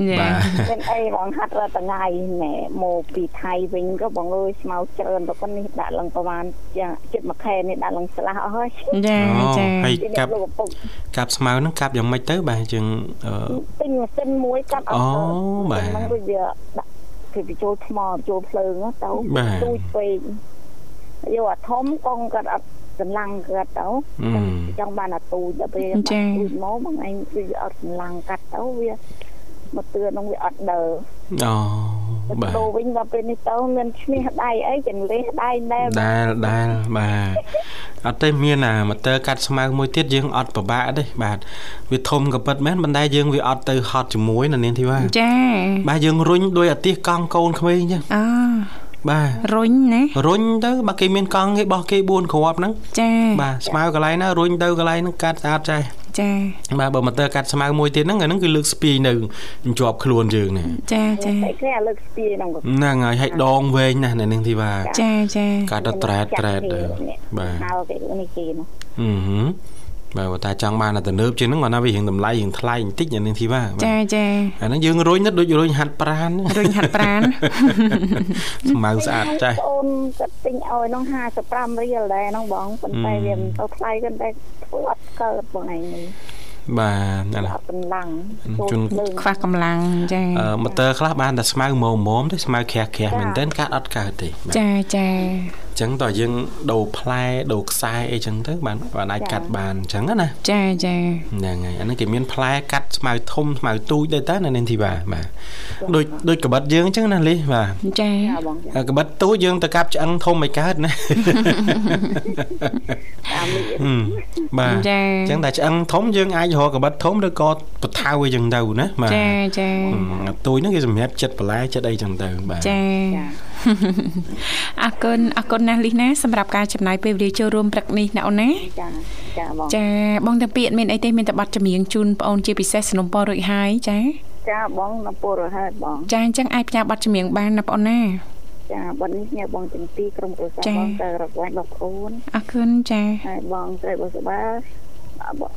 មានអីបងហាត់រាល់ថ្ងៃណែមកពីថៃវិញក៏បងអើយស្មៅច្រើនប៉ុណ្នេះដាក់ឡើងប្រហែលចាចិត្តមួយខែនេះដាក់ឡើងស្លាស់អស់ ហើយ
ចា
អូ
ចា
ហើយ
ពី
កា
អ្នក
ប់
លោកឪពុក
កាប់ស្មៅហ្នឹងកាប់យ៉ាងម៉េចទៅបាទយើងអឺ
ទិញម៉ាស៊ីនមួយកាត់អ
អូ
ត់ទៅ
បាទ
ហ្នឹងដូចវាដាក់គេបញ្ចូលថ្មបញ្ចូលភ្លើងហ្នឹងទៅ
បាទ
ទូចពេកយកអាធំកងគាត់អត់កម្លាំងគាត់ទៅ
អឺ
ចង់បានអាទូចដល់ពេល
ចា
ទូចមកបងឯងគឺអត់កម្លាំងកាត់ទៅវាមកទឿននឹងវាអត់ដើរ
អូ
ប
បាទ
ដូរវិញដល់ពេលនេះទៅមានឈ្មោះដៃអីចន្លេះដៃណែបង
ដែលដែលបាទអត់ទេមានអាម៉ូទ័រកាត់ស្មៅមួយទៀតយើងអត់ពិបាកទេបាទវាធំក៏ពិតមែនប៉ុន្តែយើងវាអត់ទៅហត់ជាមួយនៅនាងធីវ៉ា
ចា
បាទយើងរុញដោយអាទិះកង់កូនក្មេងអញ្ចឹង
អូ
បាទ
រុញណា
រុញទៅបាទគេមានកង់គេបោះគេ4គ្រាប់ហ្នឹង
ចា
បាទស្មៅកន្លែងណារុញទៅកន្លែងហ្នឹងកាត់ស្អាតចេះ
ចា
បាទបើម៉ូទ័រកាត់ស្មៅមួយទៀតហ្នឹងអាហ្នឹងគឺលើកស្ពាយនៅជាប់ខ្លួនយើងនេះ
ចាចា
តែគេឲ្យលើកស្ពាយហ្នឹងក៏
ហ្នឹងហើយហែកដងវែងណាស់នៅនាងធីវ៉ា
ចាចា
កាត់ទៅត្រែតត្រែតទៅបាទ
ហៅគេនេះគេនោះ
អឺហឺបាទបើតាចង់បានតែទំនើបជាងហ្នឹងគាត់ណាវារៀងតម្លៃរៀងថ្លៃបន្តិចអានឹងធីវ៉ាបាទ
ចាចា
អាហ្នឹងយើងរុញទៅដូចរុញហាត់ប្រាណ
រុញហា ត់ប្រាណ
ស្មៅស្អាតចាស់
បងអូនគាត់ទិញឲ្យហ្នឹង55រៀលដែរហ្នឹងបងប៉ុន្តែវាមិនទៅថ្លៃគាត់តែធ្វើអត់កើតបងឯងនេះ
បាទអា
អ
ណា
ត់កម្លាំង
ជន់
លើង
ខ្វះកម្លាំងចា
អឺម៉ូទ័រខ្លះបានតែស្មៅមុំមុំទេស្មៅក្រាស់ក្រាស់មែនទែនកាត់អត់កើតទេបាទអ
ចាចា
ញ្ចឹងតើយើងដូរផ្លែដូរខ្សែអីចឹងទៅបានបានអាចកាត់បានអញ្ចឹងណា
ចាចា
ហ្នឹងហើយអាហ្នឹងគេមានផ្លែកាត់ស្មៅធំស្មៅទូចដែរតើនៅនឹងធីវ៉ាបាទដូចដូចក្បិតយើងអញ្ចឹងណាលីបាទ
ចា
ចាបងចា
អាក្បិតទូចយើងទៅកាប់ឆ្អឹងធំមិនកើតណា
តាមនេះ
ហឹមបាទអ
ចា
ញ្ចឹងតែឆ្អឹងធំយើងអាចរកក្បិតធំឬក៏បន្ថៅអីចឹងទៅណាបាទ
ចាចា
ហឹមអាទូចហ្នឹងគេសម្រាប់ចិត្តបន្លែចិត្តអីចឹងទៅបាទ
ចា
ចា
អរគុណអរគុណណាស់លីសណាសម្រាប់ការចំណាយពេលវេលាចូលរួមព្រឹកនេះណាអូនណា
ចាចាបង
ចាបងតាពីអត់មានអីទេមានតែប័ណ្ណចម្រៀងជូនបងអូនជាពិសេសสนំពររួចហើយចា
ចាបងដល់ពលរហ័សបង
ចាអញ្ចឹងអាចផ្ញើប័ណ្ណចម្រៀងបានណាបងអូនណា
ចាបងនេះខ្ញុំបងទាំងពីរក្រុមគ្រួសារបងទៅរកវ៉ាញ់បងប្អូន
អរគុណចា
ហើយបងស្រីបងសុបាបង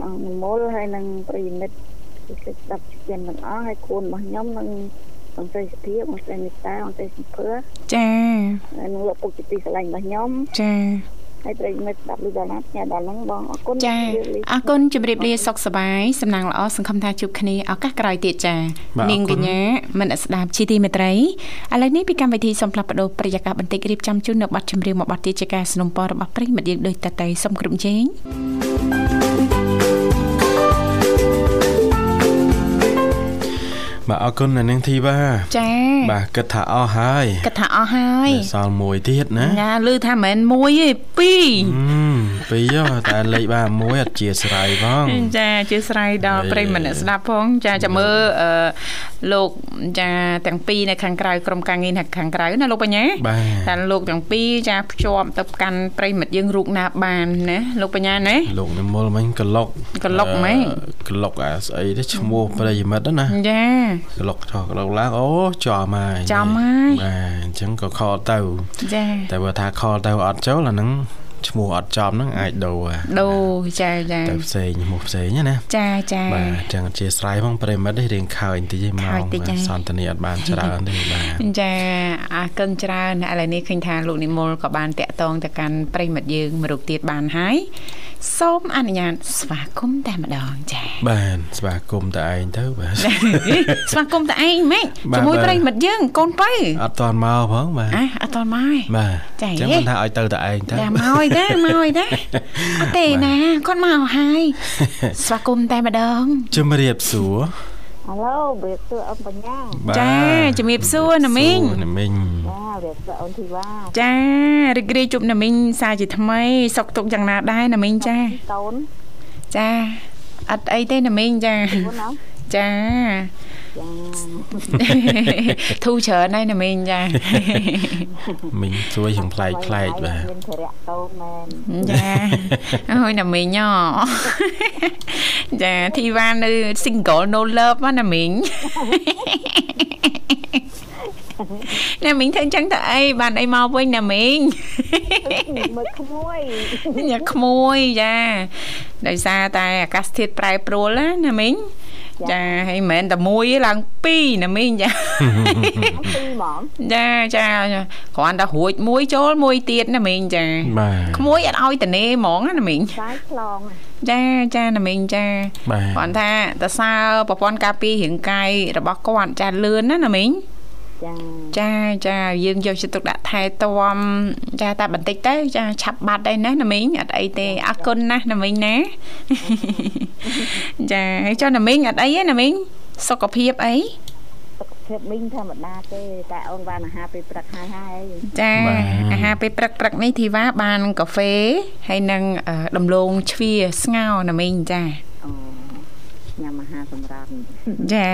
បងនិមលហើយនឹងប្រិយមិត្តពិសេសស្ដាប់ជិជនទាំងអស់ហើយគូនរបស់ខ្ញុំនឹង អង្គស្រីសុភាពអង្គស្រីមេតាអង្គស្រីសុភើ
ចា
ហើយនិងលោកពុកជាទីស្រឡាញ់របស់ខ្ញុំ
ចា
ហើយប្រិយមិត្តស្ដាប់ឮដល់ណាផ្ញើដល់ហ្នឹងបងអរគុណ
ចា
ជម្រាបលា
អរគុណជម្រាបលាសុខសប្បាយសំណាងល្អសង្ឃឹមថាជួបគ្នាឱកាសក្រោយទៀតចា
បាទ
នាង
អរគុ
ក
ណ
ញ្ញាមនស្សស្ដាប់ជីទីមេត្រីឥឡូវនេះពីកម្មវិធីសូមផ្លាស់ប្ដូរប្រយាករបន្តិចរៀបចំជូននៅប័ណ្ណចម្រៀងមួយប័ណ្ណទៀតជាការสนับสนุนរបស់ប្រិយមិត្តយើងដូចតទៅសូមក្រុមជេង
បាទអរគុណអ្នកនាងធីវ៉ា
ចា
បាទគិតថាអស់ហើយ
គិតថាអស់ហើយ
នៅសល់មួយទៀតណា
ណាឮថាមិនមែនមួយទេពីរ
ហឹមពីរយោតែលេខបាទមួយអត់ជាស្រ័យផង
ចាអធិស្ស្រ័យដល់
ហើយ
ប្រិយមត្តអ្នកស្ដាប់ផងចាចាំមើលអឺលោកចាទាំងពីរនៅខាងក្រៅក្រុមការងារនៅខាងក្រៅណាលោកបញ្ញា
បាទ
តែលោកទាំងពីរចាភ្ជាប់ទៅកាន់ប្រិយមត្តយើងរូបណាបានណាលោកបញ្ញាណា
លោកនិមលមិញក្លុក
ក្លុកហ្មង
អឺក្លុកអាស្អីទេឈ្មោះប្រិយមិត្តហ្នឹងណា
ចា
ក្លុកថោះក្លុកឡើងអូចំហើយ
ចំហើយ
បាទអញ្ចឹងក៏ខលទៅ
ចា
តែបើថាខលទៅអត់ចូលអាហ្នឹងឈ្មោះអត់ចំហ្នឹងអាចដូរអា
ដូរចាចា
ទៅផ្សេងឈ្មោះផ្សេងហ្នឹងណា
ចាចា
បាទអញ្ចឹងអធិស្ឋានផងប្រិមិត្តនេះរៀងខើញតិចឯងមក
ខើញតិចហើយ
សន្តានាអត់បានច្រើនទេបាទ
ចាអាកិនច្រើនណាស់ឥឡូវនេះឃើញថាលោកនិមលក៏បានតាក់ទងទៅកាន់ប្រិយមត្តយើងមួយរូបទៀតបានហើយសូមអនុញ្ញាតស្វាគមន៍តែម្ដងចា
បាទស្វាគមន៍តឯង ទៅបាទ
ស្វាគមន៍តឯងម៉េច
បាទ
ជាមួយ
បាទ
ប្រិយមិត្តយើងកូនបើ
អត់តាន់មកផងបាទ
អាអត់តមកឯង
បាទ
ចា៎
អញ្ចឹងមិនថាឲ្យទៅតឯងទៅ
តែមកឯតា មកឯតាអត់ទេណាគាត់មកហើយស្វាគមន៍តែម្ដង
ជំរាបសួរ
ហឡូវាសួរអូនបញ្ញា
បាទ
ចាជំរាបសួរណាមីង
សួរណាមីង
បាទវាសួរអូនធីវ៉ា
ចារីករាយជួបណាមីងសារជាថ្មីសុខទុក្ខយ៉ាងណាដែរណាមីងចា
តូន
ចាអត់អីទេណាមីងចា
អូនណា
ចា
ចា
ធូរច្រើនហើយណាមីងចា
មីងសួរយ៉ាងប្លែកប្លែកបាទ
មានធរៈតូនមែន
ចាអូយណាមីងអចាធីវ៉ានៅ single no love ហ្នឹងណាមីង ណាមីងធ្វើអញ្ចឹងទៅអីបានអីមកវិញណាមីង
មើលក្មួយ
ញ៉ាក្មួយចាដោយសារតែអាកាសធាតុប្រែប្រួលណាណាមីងចាហើយមិនមែនតែមួយទេឡើងពីរណាមីងចា
ពីរហ្មង
ចាចាចាគ្រាន់តែរួចមួយចូលមួយទៀតណាមីងចា
បាទ
ក្មួយអត់ឲ្យតនេហ្មងណាណាមីង
ខ្លាយឆ្លង
ចាចាណាមីងចា
បា
គ្រា
ទ
ន់ថាតសើប្រព័ន្ធការពាររាងកាយរបស់គាត់ចាលឿនណាណាមីង
ចា
ចាចាយើងយកចិត្តទុកដាក់ថែទាំចាតែបន្តិចទៅចាឆាប់បាត់ហើយណាណាមីងអត់អីទេអរគុណណាស់ណាមីងណា ចាហើយចុះណាមីងអត់អីទេណាមីងសុខភាពអី
សុខភាពមីងធម្មតាទេតែអូនបានអាហារពេលព្រឹកហើយហើយ
ចាអាហារពេលព្រឹកព្រឹកនេះធីវ៉ាបានកាហ្វេហើយនឹងអឺដំឡូងជ្វាស្ងោរណាមីងចា
អូញ៉ាំអាហារសម្រាប់
ចា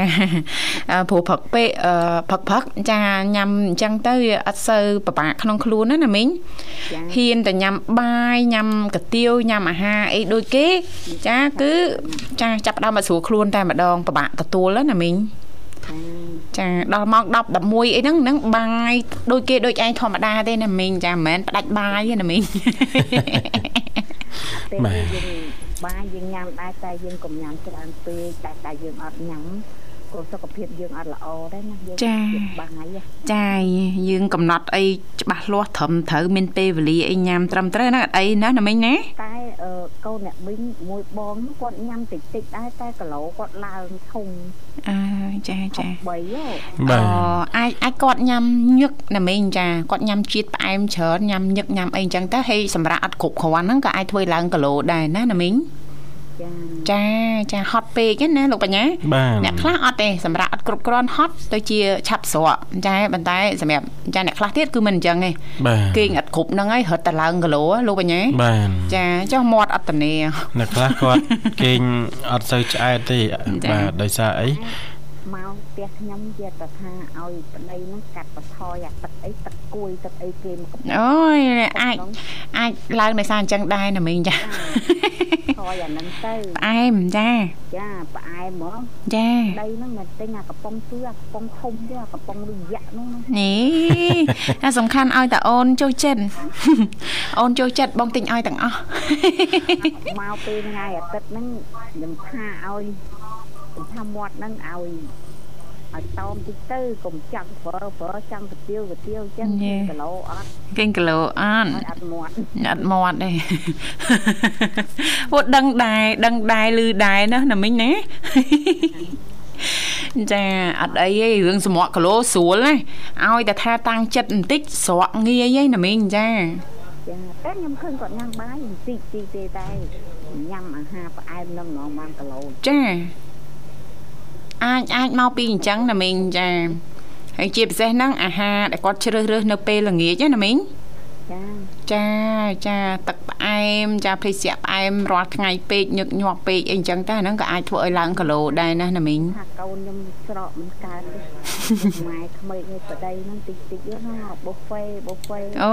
អឺព្រោះផឹកពេកអឺផឹកផឹកចាញ៉ាំអញ្ចឹងទៅអត់សូវពិបាកក្នុងខ្លួនណាណាមីងហ៊ានតែញ៉ាំបាយញ៉ាំកាទៀវញ៉ាំអាហារអីដូចគេ ចាគឺចាចាប់ផ្ដើមមកស្រួលខ្លួនតែម្ដងពិបាកទទួលណាណាមីងចាដល់ម៉ោង10 11អីហ្នឹងហ្នឹងបាយដូចគេដូចឯងធម្មតាទេណាមីងចាមិនមែនផ្ដាច់បាយទេណាមីង
ពេលយើងបាយយើងញ៉ាំដែរតែយើងកុំញ៉ាំច្រើនពេកតែតែយើងអត់ញ៉ាំក៏សុខភាពយើងអត់ល្អដែរណាយើង
ចា
បាយហ៎
ចាយើងកំណត់អីច្បាស់លាស់ត្រឹមត្រូវមានពេលវេលាអីញ៉ាំត្រឹមត្រូវហ្នឹងអត់អីណាណាមីងណា
តែអឺកូនអ្នកមីងមួយបងនោះគាត់ញ៉ាំតិចតិចដែរតែគីឡូគាត់ឡើងធំ
អើចាចា
3ហ៎
បា
អូ
ទ
អាចអាចគាត់ញ៉ាំញឹកណាមីងចាគាត់ញ៉ាំជាតិផ្អែមច្រើនញ៉ាំញឹកញ៉ាំអីអញ្ចឹងទៅហេសម្រាប់អត់គ្រប់គ្រាន់ហ្នឹងក៏អាចធ្វើឡើងគីឡូដែរណាណាមីង
ចា
ចាចាហត់ពេកហ្នឹងណាលោកបញ្ញា
បាទ
អ្នកខ្លះអត់ទេសម្រាប់អត់គ្រប់គ្រាន់ហត់ទៅជាឆាប់ស្រក់ចាប៉ុន្តែសម្រាប់ចាអ្នកខ្លះទៀតគឺមិនអញ្ចឹងទេ
បាទ
គេងអត់គ្រប់ហ្នឹងហើយរត់តែឡើងគីឡូហ៎លោកបញ្ញា
បាទ
ចាចុះមាត់អត់តនី
អ្នកខ្លះគាត់គេងអត់សូវឆ្អែតទេ
ចា
បាទដោយសារអី
មកផ្ទះខ្ញុំជាតថាឲ្យប្តីហ្នឹងកាត់បន្ថយអាទឹកអីទឹកគួយទឹកអីគេមកកំ
អូយអាចអាចឡើងដោយសារអញ្ចឹងដែរណាមីងចា
ថយអាហ្នឹងទៅ
ផ្អែមចា
ចាផ្អែមហ្មង
ចា
ដីហ្នឹងមិនទិញអាកំប៉ុងជឿអាកំប៉ុងធំទេអាកំប៉ុងរយៈហ្នឹងណា
នេះតែសំខាន់ឲ្យតាអូនចុះចិត្ត អូនចុះចិត្តបងទិញឲ្យទាំងអស់
មកពេលថ្ងៃអាទិត្យហ្នឹងខ្ញុំថាឲ្យខ្ញុំថាមាត់ហ្នឹងឲ្យ ឲ្យតោមតិចទៅកុំចាំងព្រើព្រើចាំងកាទៀវកាទៀវចឹង
ញ៉េ
គីឡូអត់
គេងគីឡូអាន
ឲ្យអត់មាត់
អត់មាត់ទេ ពួកដឹងដែរដឹងដែរឮដែរណាណា មិញណាចាអត់អីទេរឿងសម្រក់គីឡូស្រួលណាឲ្យតែថាតាំងចិត្តបន្តិចស្រក់ងាយឯណាមិញចា
ចាតែខ្ញុំឃើញគាត់ញ៉ាំបាយបន្តិចតិចទេតែញ៉ាំអាហារផ្អែមនឹងហ្មងបានគីឡូ
ចាអាចអាចមកពីអញ្ចឹងណាមីងចាហើយជាពិសេសហ្នឹងអាហារដែលគាត់ជ្រើសរើសនៅពេលល្ងាចណាមីង
ចា
ចាចាទឹកផ្អែមចាភេសជ្ជៈផ្អែមរាល់ថ្ងៃពេកញឹកញាប់ពេកអីអញ្ចឹងតែហ្នឹងក៏អាចធ្វើឲ្យឡើងគីឡូដែរណាណាមីង
ថាកូនខ្ញុំស្រកមិនកើតទេ ម៉ែក្មេកនេះប្តីហ្នឹងតិចតិចហ្នឹង ណាប៊ូហ្វេប៊ូហ្វេ
អូ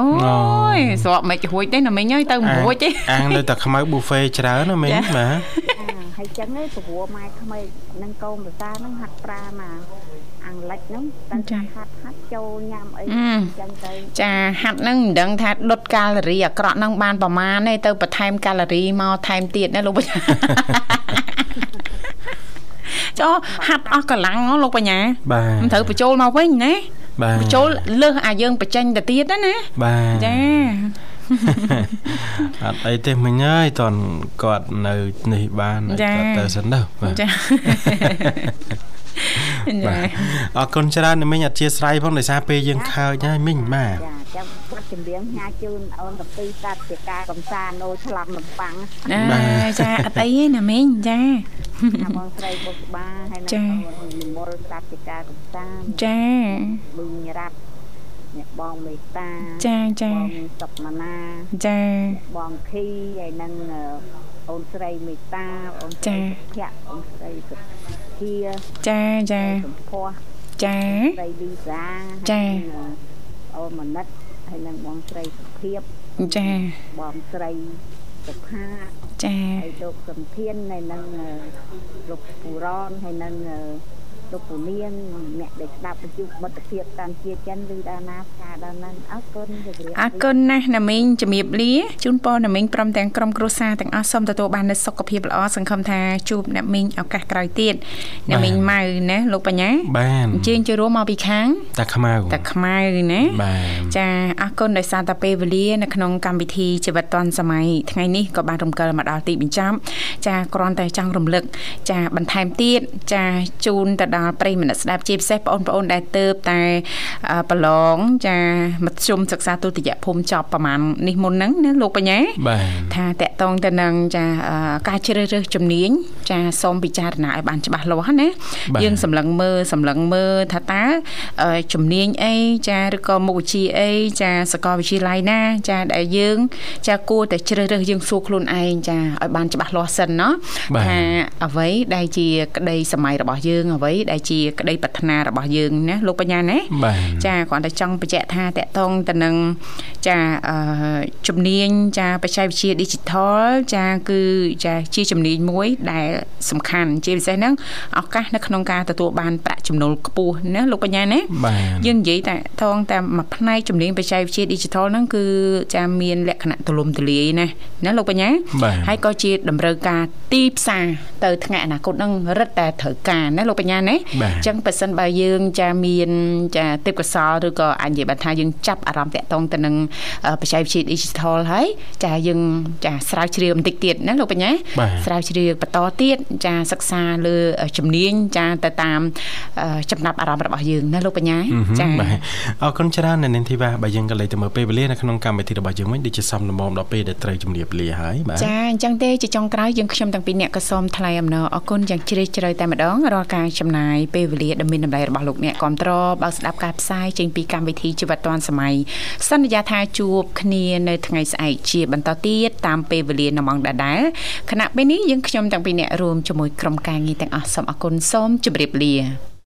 យស្រក់មិនរួចទេណាមីងអើយទៅមិនរួចទេ
អាងនៅតែខ្មៅប៊ូហ្វេច្រើនណាមិញ
ចា
បាទ
អាហើយចឹងឯងព្រោះម៉ែក្មេកនឹងកូនប្រសាហ្នឹងហាត់ប្រាណាអាំងលិចហ្នឹងតែ
ចា
ហាត់ហាត់ចូលញ៉ាំអី
អឺ
ចឹងទៅ
ចាហាត់ហ្នឹងមិនដឹងថាដុតកាឡូរីអាក្រក់ហ្នឹងបានប្រមាណទេទៅបន្ថែមកាឡូរីមកថែមទៀតណាលោកបញ្ញា ចូលហាត់អស់កម្លាំងហ៎លោកបញ្ញា
បា
មិន
ទ
ត្រូវបញ្ចូលមកវិញណា
បាទ
បញ្ចូលលើសអាយើងបញ្ចេញទៅទៀតណាណា
បាទ
ចា
អត់អីទេមិញអើយតន់គាត់នៅនេះបានហើយគាត់ទៅសិនទៅ បាទ
ចាចា
បាទអរគុណច្រើនណាមិញអធិស្ឋានផងដោយសារពេលយើងខើចហើយមិញបាទ
ចាចាំគាត់ចម្រៀងញ៉ាជូនអូនតាពីកាត់ជាការកំសាន្តអូឆ្លាប់លំបាំង
ណាចាអត់អីទេណាមីងចា
ថាបងស្រីបុកក្បាលហើយ
ចា៎
នៅអូននិមលស្ដាប់ពីការកំសាន្ត
ចា
ប៊ឹងរ៉ាប់អ្នកបងមេតា
ចាចា
បងសុកម៉ាណា
ចា
បងខីហើយនឹងអឺអូនស្រីមេតាអូនស្រីសុភ័ក្រអូនស្រីសុភា
ចាចា
សំភ័ស្ស
ចា
ស្រីលីសា
ចា៎
ហើយនឹងអូនមនិតហើយនឹងបងស្រីសុភាព
ចា
បងស្រីសុផា
ចា
ហើយលោកសំធានហើយនឹងអឺលោកពូរ៉នហើយនឹងអឺលោកពូនាងអ្នកដែលស្ដាប់វិទ្យុមិត្តភាពតាមជាចិនឬដល់ណាផ្សារដល់ហ្នឹងអរគុណជម្រាប
អរគុណណាស់ណាមីងជំរាបលាជូនពរណាមីងព្រមទាំងក្រុមគ្រួសារទាំងអស់សូមទទួលបាននូវសុខភាពល្អសង្ឃឹមថាជួបណាមីងឱកាសក្រោយទៀតណាមីងម៉ៅណាលោកបញ្ញា
បាន
អញ្ជើញចូលរួមមកពីខាង
តាខ្មៅ
តាខ្មៅណា
បាទ
ចាអរគុណដោយសារតាពេលវេលានៅក្នុងកម្មវិធីជីវិតឌွန်សម័យថ្ងៃនេះក៏បានរំកិលមកដល់ទីបញ្ចប់ចាគ្រាន់តែចង់រំលឹកចាបន្ថែមទៀតចាជូនទៅដល់ប្រិយមិត្តអ្នកស្ដាប់ជាពិសេសបងប្អូនដែលទៅតែអឺប្រឡងចាមធ្យមសិក្សាទុតិយភូមិចប់ប្រហែលនេះមុនហ្នឹងណាលោកបញ្ញា
បាទ
ថាតកតងទៅនឹងចាអឺការជ្រើសរើសជំនាញចាសូមពិចារណាឲ្យបានច្បាស់លាស់ណាយើងសម្លឹងមើលសម្លឹងមើលថាតើអឺជំនាញអីចាឬក៏មុខវិជ្ជាអីចាសាកលវិទ្យាល័យណា ចាដែលយើង ចាគួរតែជ្រើសរើសយើងសួរខ្លួនឯងចាឲ្យបានច្បាស់លាស់សិនណោះថាអ្វីដែលជាក្តីសម័យរបស់យើងអ្វីដែលជាក្តីប្រាថ្នារបស់យើងណាលោកបញ្ញាណា
បាទ
ចាគ្រាន់តែចង់បញ្ជាក់ថាតកតងទៅនឹងចាអឺជំនាញចាបច្ចេកវិទ្យា Digital ចាគឺចាជាជំនាញមួយដែលសំខាន់ជាពិសេសហ្នឹងឱកាសនៅក្នុងការទទួលបានប្រាក់ចំណូលខ្ពស់ណាលោកបញ្ញាណា
បាទ
យើងនិយាយតែតងតាមមួយផ្នែកជំនាញបច្ចេកវិទ្យា Digital ហ្នឹងគឺចាមានលក្ខណៈទូលំទូលាយណាស់ណាលោកបញ្ញា
បាទ
ហើយក៏ជាតម្រូវការទីផ្សារទៅថ្ងៃអនាគតហ្នឹងរឹតតែត្រូវការណាលោកបញ្ញាណា
បាទ
អញ្ចឹងបើសិនបើយើងចាមានចាទេពកោសលឬក៏អាចនិយាយបានថាយើងចាប់អារម្មណ៍តាក់ទងទៅនឹងអឺបច្ចេកវិទ្យា Digital ហើយចាយើងចាស្រាវជ្រាវបន្តិចទៀតណាលោកបញ្ញា
បាទ
ស្រាវជ្រាវបន្តទៀតចាសិក្សាលើអឺជំនាញចាទៅតាមអឺចំណាប់អារម្មណ៍របស់យើងណាលោកបញ្ញា
ចា
ចា
៎បាទអរគុណច្រើនអ្នកនាងធីវ៉ាបើយើងក៏លេចទៅមើលពេលវេលានៅក្នុងកម្មវិធីរបស់យើងវិញដូចជាសំណមមដល់ពេលដែលត្រូវជំរាបលាហើយបាទ
ចាអញ្ចឹងទេជាចុងក្រោយយើងខ្ញុំទាំងពីរអ្នកក៏សូមថ្លែងអំណរអគុណយ៉ាងជ្រាលជ្រៅតែម្ដងរាល់ការចំណាយពេលវេលាដ៏មានតម្លៃរបស់លោកអ្នកគ្រប់តរបើកស្ដាប់ការផ្សាយចេញពីកម្មវិធីជីវិតឌွန်សម័យសន្យាថាជួបគ្នានៅថ្ងៃស្អែកជាបន្តទៀតតាមពេលវេលានៅម៉ោងដដែលខណៈពេលនេះយើងខ្ញុំទាំងពីរអ្នករួមជាមួយក្រុមការងារទាំងអស់សូមអគុណសូមជម្រាបលា